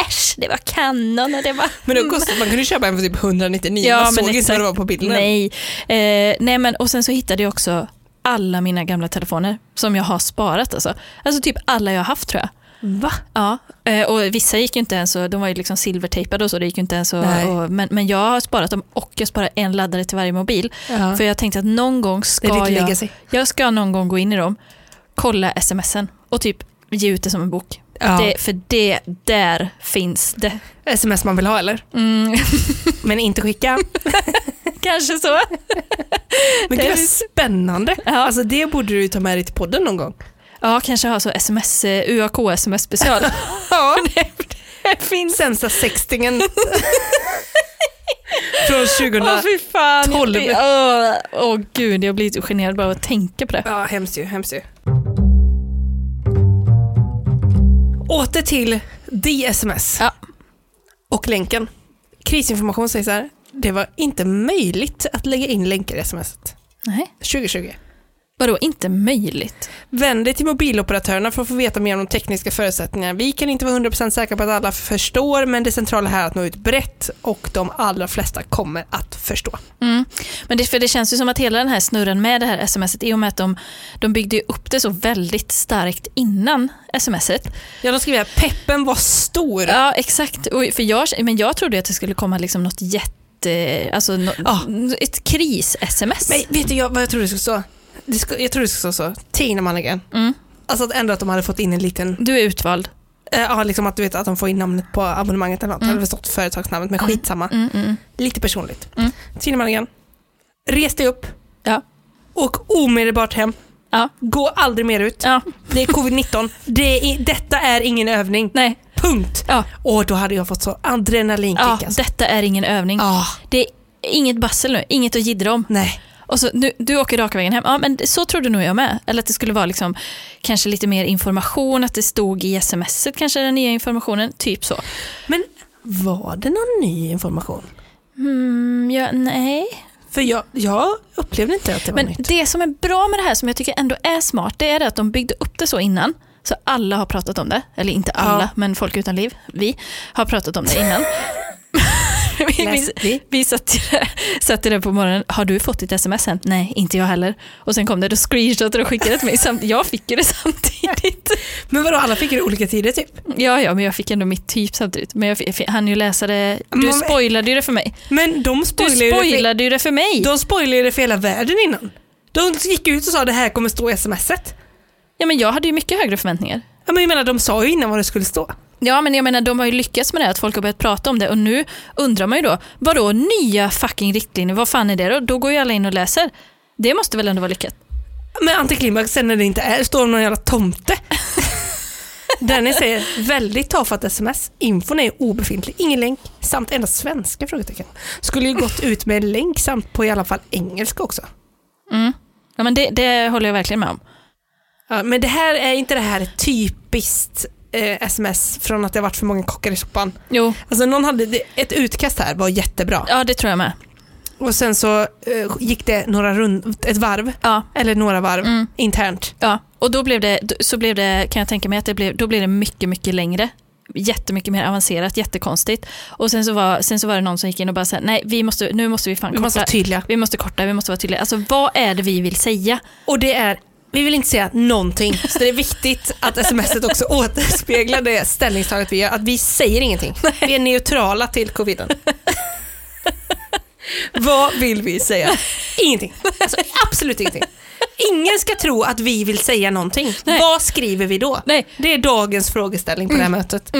Äsch, det var Canon och det var...
Men då kostade, man kunde ju köpa en för typ 199,
Mm. Ja,
man
men
såg inte
exakt.
vad det var på bilden.
Nej. Eh, nej men, och sen så hittade jag också alla mina gamla telefoner som jag har sparat. Alltså, alltså typ alla jag har haft tror jag. Va? Ja, eh, och vissa gick ju inte ens att, de var ju liksom silvertejpade och så, det gick ju inte ens att,
Nej.
och, men, men jag har sparat dem och jag sparar en laddare till varje mobil. För jag tänkte att någon gång
Det är
ska
dit det lägger
jag,
sig.
jag ska någon gång gå in i dem, kolla smsen och typ ge ut det som en bok.
Ja.
Det, för det, där finns det.
Sms man vill ha eller?
Mm,
Men inte skicka.
kanske så.
Men gud vad spännande. Alltså det borde du ju ta med dig till podden någon gång.
Ja, kanske ha så sms, eh, UAK sms special.
Ja. Finns Sensa sextingen. Från 2000.
fy fan.
jag
Åh
blir-
gud, jag blir lite generad bara att tänka på det.
Ja, hemskt ju, hemskt ju. Åter till DSMS.
Ja.
Och länken. Krisinformation säger så här. Det var inte möjligt att lägga in länkar i sms -et.
Nej.
2020.
Vadå, inte möjligt?
Vänd dig till mobiloperatörerna för att få veta mer om de tekniska förutsättningarna. Vi kan inte vara 100% säkra på att alla förstår, men det centrala här är att nå ut brett och de allra flesta kommer att förstå.
Mm. Men det, för det känns ju som att hela den här snurren med det här smset, i och med att de, de byggde ju upp det så väldigt starkt innan smset.
Ja, de skriver här, peppen var stor.
Ja, exakt. Och för jag, men jag trodde ju att det skulle komma liksom något jätte... Alltså, nå-
Ja.
ett kris-sms.
Men vet du jag, vad jag tror det skulle stå? Det skulle, jag tror det skulle stå så. Tina Mannigan.
Mm.
Alltså att ändå att de hade fått in en liten,
Du är utvald.
eh, ja liksom att du vet att de får in namnet på abonnemanget eller något. Det hade väl stått företagsnamnet, men skitsamma.
Mm, mm.
Lite personligt.
Mm.
Tina Mannigan, res dig upp.
Ja.
Åk omedelbart hem.
Ja.
Gå aldrig mer ut.
Ja,
Det är covid-19. Det är, detta är ingen övning.
nej.
Punkt.
Ja.
Och då hade jag fått så adrenalinkick.
Ja,
alltså.
detta är ingen övning.
ah,
Det är inget bassel nu, inget att jiddra om.
nej.
Och så, nu, du åker raka vägen hem. Ja, men så trodde nog jag med. Eller att det skulle vara liksom, kanske lite mer information, att det stod i smset kanske den nya informationen, typ så.
Men var det någon ny information?
Mm, ja, nej.
För jag, jag upplevde inte att det var
Men
nytt.
det som är bra med det här, som jag tycker ändå är smart, det är det att de byggde upp det så innan. Så alla har pratat om det. Eller inte alla,
Ja.
men folk utan liv, vi, har pratat om det innan. Vi- vi-
vi.
Vi satt ju där, satt ju där på morgonen, har du fått ditt sms än? Nej, inte jag heller. Och sen kom det, då screenshotade och skickade det till mig. Samt, jag fick ju det samtidigt.
Men vadå, alla fick det olika tider typ?
Ja, ja, men jag fick ändå mitt typ samtidigt. Men jag fick, han ju läsa det, du
Men-
spoilade ju det för mig.
Men de
Du
spoilade, ju det för,
spoilade ju det för mig.
de spoilade ju det för hela världen innan. De gick ut och sa det här kommer stå i smset.
Ja, men jag hade ju mycket högre förväntningar.
Ja, men jag menar, de sa ju innan vad det skulle stå.
Ja, men jag menar de har ju lyckats med det, här, att folk har börjat prata om det och nu undrar man ju då, vadå nya fucking riktlinjer, vad fan är det då? Då går ju alla in och läser. Det måste väl ändå vara lyckat?
Men antiklimax sen när det inte är, står någon jävla tomte. Denny säger väldigt tafatt sms. Infon är obefintlig, ingen länk samt endast svenska frågetecken. Skulle ju gått ut med en länk samt på i alla fall engelska också.
Mm. Ja, men det, det håller jag verkligen med om.
Ja, men det här är inte det här är typiskt eh, sms från att det har varit för många kockar i soppan.
Jo,
Alltså någon hade det, ett utkast här var jättebra
ja det tror jag med.
och sen så eh, gick det några rund, ett varv
Ja,
eller några varv
Mm.
internt.
ja. och då blev det, då- så blev det, kan jag tänka mig att det blev, då blev det mycket, mycket längre. Jättemycket mer avancerat, jättekonstigt. Och sen så var, sen så var det någon som gick in och bara sa, nej vi måste, nu måste vi fan
Vi måste
korta.
vara tydliga.
Vi måste korta, vi måste vara tydliga. Alltså vad är det vi vill säga?
Och det är Vi vill inte säga någonting, så det är viktigt att smset också återspeglar det ställningstagandet vi gör. Att vi säger ingenting. Vi är neutrala till coviden. Vad vill vi säga? Ingenting. Alltså, absolut ingenting. Ingen ska tro att vi vill säga någonting. Vad skriver vi då?
Nej. Mm.
Det är dagens frågeställning på det här mötet.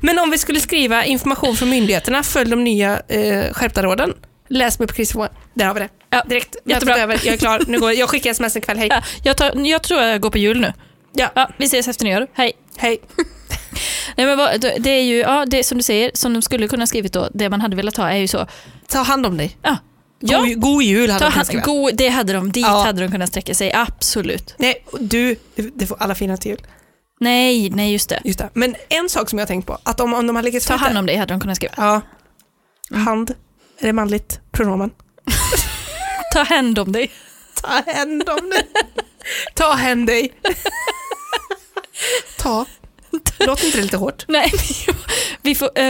Men om vi skulle skriva information från myndigheterna, följ de nya eh, skärpta råden. Läs mig på Chris Johan. Där har vi det.
Ja,
Direkt.
jättebra.
Mötet är över. Jag är klar. Nu går jag. jag skickar sms en kväll. Hej.
Ja, jag, tar, jag tror jag går på jul nu.
Ja.
Ja, vi ses efter nyår. Hej.
Hej.
Nej, men vad, det är ju, ja, det är som du säger, som de skulle kunna ha skrivit då, det man hade velat ha är ju så.
Ta hand om dig.
Ja,
God,
ja
god jul hade
ta
jag kunnat
hand,
skriva.
go, det hade de, dit
Ja.
hade de kunnat sträcka sig, absolut.
Nej, du, det- det får alla fina till jul.
Nej, nej just det.
Just det. Men en sak som jag har tänkt på, att om, om de har legat
Ta hand om dig hade de kunnat skriva.
Ja. Hand. Är det manligt pronomen?
Ta hand om dig.
Ta hand om dig. Ta hand dig. Ta. Låter inte det lite hårt?
Nej, men vi får, eh,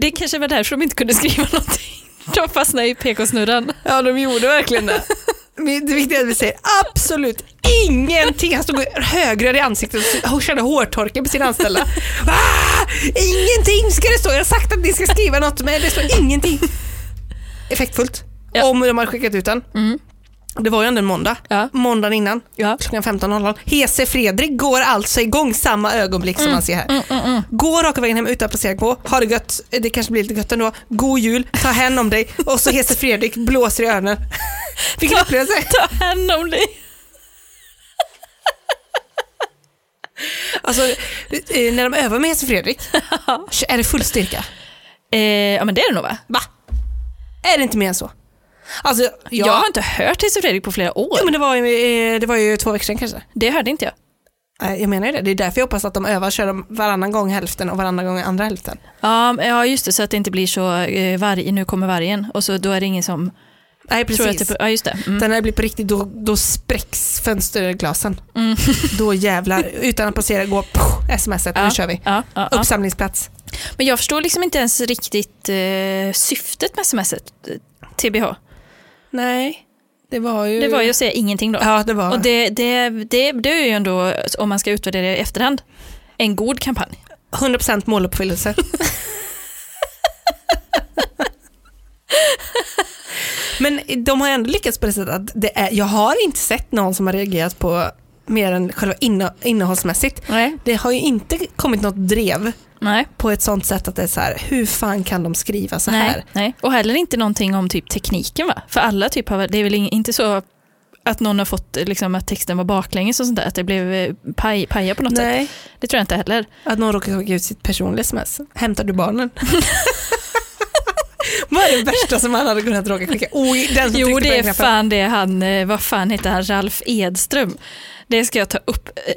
det kanske var därför de inte kunde skriva någonting. De fastnade i PK-snurran.
Ja, de gjorde verkligen det. Men Det viktiga är att vi säger absolut ingenting. Han stod högröd i ansiktet och körde hårtorken på sina anställda. Ah, ingenting ska det stå. Jag har sagt att ni ska skriva något, men det står ingenting. Effektfullt.
Ja.
Om de hade skickat ut den.
Mm.
Det var ju ändå en måndag.
Ja.
Måndagen innan,
Ja.
klockan 15.00. Hese Fredrik går alltså igång samma ögonblick som man ser här. Gå raka vägen hem utan placering på. Ha det gött. Eh, Det kanske blir lite gött ändå. God jul. Ta hand om dig. Och så Hese Fredrik blåser i öronen. Vilken upplevelse.
Ta hand om dig.
Alltså, eh, när de övar med Hese Fredrik, är det full styrka?
Eh, ja men det är det nog va?
Va? Är det inte mer än så? Alltså, jag...
Jag har inte hört Hesse Fredrik på flera år.
Jo, men det var, ju, eh, det var ju två veckor sedan kanske.
Det hörde inte jag.
Nej, Jag menar ju det. Det är därför jag hoppas att de övar kör de varannan gång hälften och varannan gång andra hälften.
Ja, men- ja just det, så att det inte blir så eh, varg, nu kommer vargen och så då är det ingen som
Nej,
tror att det, ja just det. Mm.
Sen när det blir på riktigt, då, då spräcks fönsterglasen.
Mm.
Då jävlar, utan att passera, gå pff, smset,
Ja,
nu kör vi.
Ja, ja, ja.
Uppsamlingsplats.
Men jag förstår liksom inte ens riktigt eh, syftet med smset, eh, TBH.
Nej, det var ju...
Det var ju att säga ingenting då.
Ja, det var.
Och det, det, det, det är ju ändå, om man ska utvärdera i efterhand, en god kampanj.
100% måluppfyllelse. Men de har ändå lyckats på det sättet att det är, jag har inte sett någon som har reagerat på mer än själva inne, innehållsmässigt.
Nej.
Det har ju inte kommit något drev
Nej.
på ett sånt sätt att det är så här, hur fan kan de skriva så här?
Nej, nej. Och heller inte någonting om typ tekniken va? För alla typ har, det är väl ing- inte så att någon har fått eh, liksom, att texten var baklänges och sånt där, att det blev eh, paj, paja på något sätt.
Nej,
Det tror jag inte heller.
att någon råkar skicka ut sitt personliga sms. Hämtar du barnen? Vad är det värsta som han hade kunnat råka skicka? Oj, den som
Jo,
tryckte på
det
den
är
knappen.
fan det han, eh, vad fan heter han, Ralf Edström. Det ska jag ta upp eh,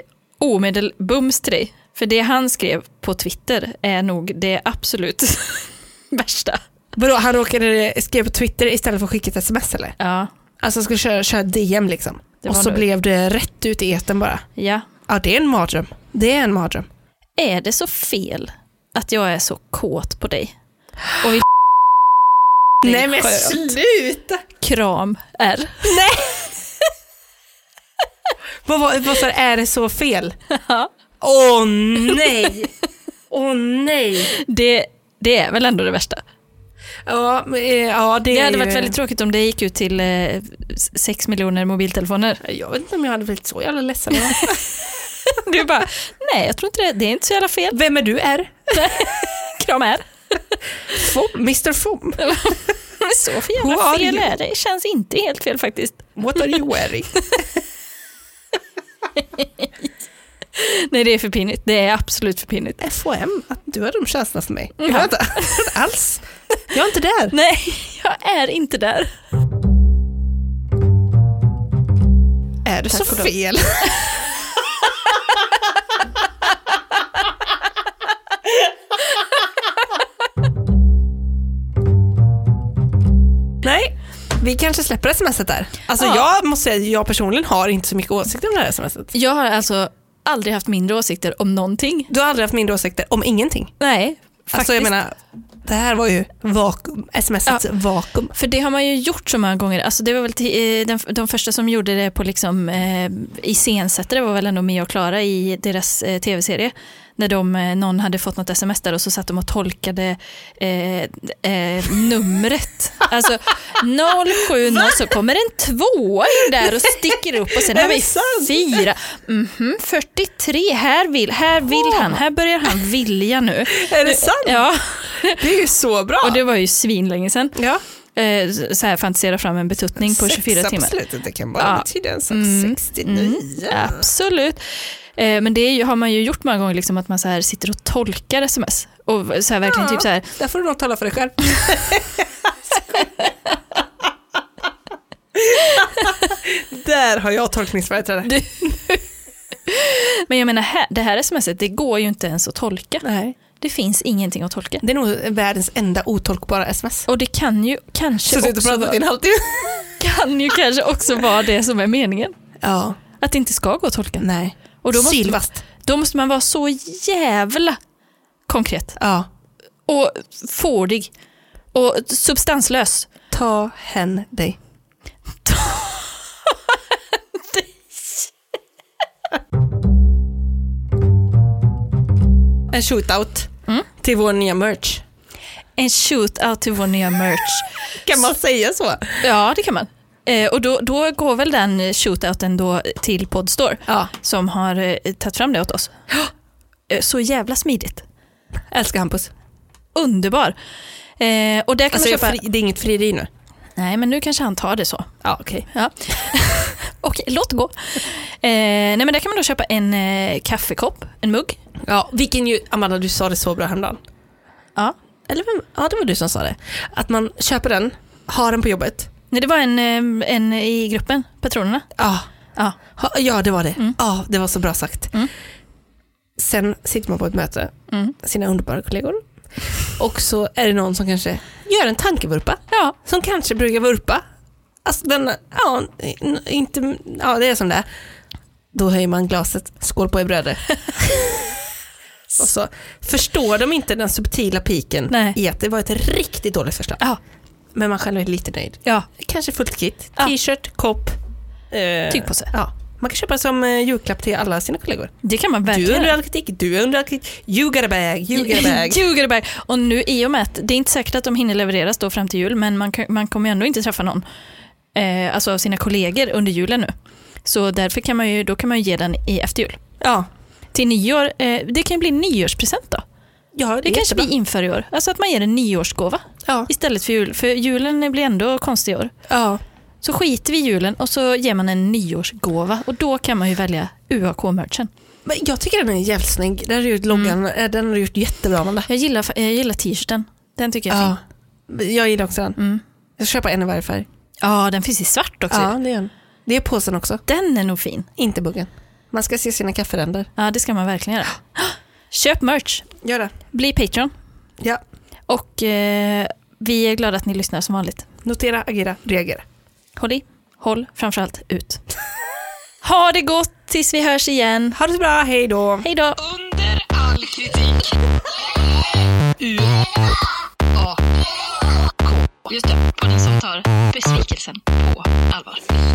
omedelbums till dig. För det han skrev på Twitter är nog det absolut värsta.
Vadå, han råkade skriva på Twitter istället för att skicka ett sms eller?
Ja,
Alltså han skulle köra, köra DM liksom.
Det
Och
var
så
nog-
blev det rätt ut i etern bara.
ja.
Ja, det är en mardröm. Det är en mardröm.
Är det så fel att jag är så kåt på dig? Och vill
Nej men sluta!
kram är?
Vad, vad, vad sa du? är det så fel?
Ja.
Åh nej! Åh nej!
Det, det är väl ändå det värsta.
Ja, men, eh, ja det,
Det
är
hade
ju-
varit väldigt tråkigt om det gick ut till eh, sex miljoner mobiltelefoner.
Jag vet inte om jag hade blivit så jävla ledsen.
Du bara, nej jag tror inte det, det är inte så jävla fel.
Vem är du R?
Kram är.
Fom? Mr Fom?
Så för
Who
jävla
are
fel
you?
är det. Känns inte helt fel faktiskt.
What are you wearing?
Nej, det är för pinigt. Det är absolut för pinigt.
FOM? Att du har de känslorna för mig? Jag har inte inte alls. Jag är inte där.
Nej, jag är inte där.
Är det så fel? Nej, vi kanske släpper smset där. Alltså
Ja.
jag måste säga, jag personligen har inte så mycket åsikter om det här smset.
Jag har alltså aldrig haft mindre åsikter om någonting.
Du har aldrig haft mindre åsikter om ingenting.
Nej, faktiskt.
Alltså jag menar, Det här var ju vakuum, smsets vakuum.
För det har man ju gjort så många gånger. Alltså det var väl till, eh, den, de första som gjorde det på liksom, eh, iscensättare var väl ändå Mia och Klara i deras eh, tv-serie. När de, eh, någon hade fått något sms där och så satt de och tolkade eh, eh, numret. Alltså 070 så kommer en tvåa in där och sticker upp och sen har vi fyra. Mhm, 43, här vill, här vill han, här börjar han vilja nu.
Är det sant?
Ja,
Det är ju så bra.
och det var ju svinlänge sedan
ja.
eh, så här fantisera fram en betuttning på 24
Sexa på
timmar.
slutet, det kan bara
Ja.
betyda en sak.
Mm,
69.
Absolut. Eh, men det är ju, har man ju gjort många gånger, liksom, att man så här sitter och tolkar sms. Och så här verkligen
Ja.
typ så här,
Där får du nog tala för dig själv. Där har jag tolkningsföreträde.
men jag menar här, det här smset, det går ju inte ens att tolka.
Nej.
Det finns ingenting att tolka.
Det är nog världens enda otolkbara sms.
Och det kan ju kanske,
Suttit och
också
pratat i
vara,
en halvtimme.
kan ju kanske också vara det som är meningen.
Ja,
Att det inte ska gå att tolka.
nej.
Och då måste,
Sylvast.
då måste man vara så jävla konkret
Ja.
och fårdig och substanslös.
Ta hen dig. En shootout till vår nya merch.
En shootout till vår nya merch.
Kan man säga så?
Ja, det kan man. Eh, och då, då går väl den shootouten då till Podstore
Ja.
som har eh, tagit fram det åt oss. Eh, Så jävla smidigt.
Älskar Hampus.
Underbar. Eh, och där kan
Alltså,
man
jag
köpa...
fri, det är inget frieri nu?
Nej, men nu kanske han tar det så.
Ja, okej.
Ja. Okej, låt gå. Eh, nej, men där kan man då köpa en eh, kaffekopp, en mugg.
Ja, vilken ju, Amanda, du sa det så bra häromdagen.
Ja.
Eller vem? Ja, det var du som sa det. Att man köper den, har den på jobbet.
Nej, det var en, eh, en i gruppen, patronerna.
Ja, Mm.
Ja.
ha, ja det var det. Ja, det var så bra sagt.
Mm.
Sen sitter man på ett möte,
Mm.
sina underbara kollegor. Och så är det någon som kanske gör en tankevurpa.
Ja.
Som kanske brukar vurpa. Alltså den, ja, n- inte, ja det är som det är. Då höjer man glaset, skål på er bröder. och så förstår de inte den subtila piken
Nej.
i att det var ett riktigt dåligt förslag.
Ja.
Men man själv är lite nöjd.
ja.
Kanske fullt kit,
Ja.
t-shirt, kopp. Eh,
Tygpåse.
Ja. Man kan köpa som eh, julklapp till alla sina kollegor.
Det kan man
Du
verkligen.
är under all kritik, du är under all kritik. You got a bag, you got a bag.
Ljugerberg. Och nu i och med att det är inte säkert att de hinner levereras då fram till jul, men man, kan, man kommer ju ändå inte träffa någon, eh, alltså av sina kollegor under julen nu. Så därför kan man ju, då kan man ju ge den i efter jul.
ja.
Till nyår, eh, det kan ju bli en nyårspresent då.
ja, det,
Det
är
kanske
jättebra.
vi inför i år. Alltså att man ger en nyårsgåva
Ja.
istället för jul. För julen blir ändå konstig i år.
Ja.
Så skiter vi i julen och så ger man en nyårsgåva och då kan man ju välja UAK-merchen.
Men jag tycker den är jävligt snygg. Den har du gjort, loggan, eh, den har du gjort jättebra Amanda.
Jag gillar, jag gillar t-shirten. Den tycker jag är fin.
Ja. Jag gillar också den.
Mm.
Jag ska köpa en i varje färg.
Ja, den finns i svart också.
det är en. Det är påsen också,
Den är nog fin.
inte buggen. Man ska se sina kafferänder.
Ja, det ska man verkligen göra. Köp merch,
Gör det.
bli Patreon
Ja.
och eh, vi är glada att ni lyssnar som vanligt.
Notera, agera, reagera.
Håll i, håll framförallt ut. Ha det gott tills vi hörs igen.
Ha det så bra, hej då!
Hej då!
Under all kritik. U-A-K. Just det, podden som tar besvikelsen på allvar.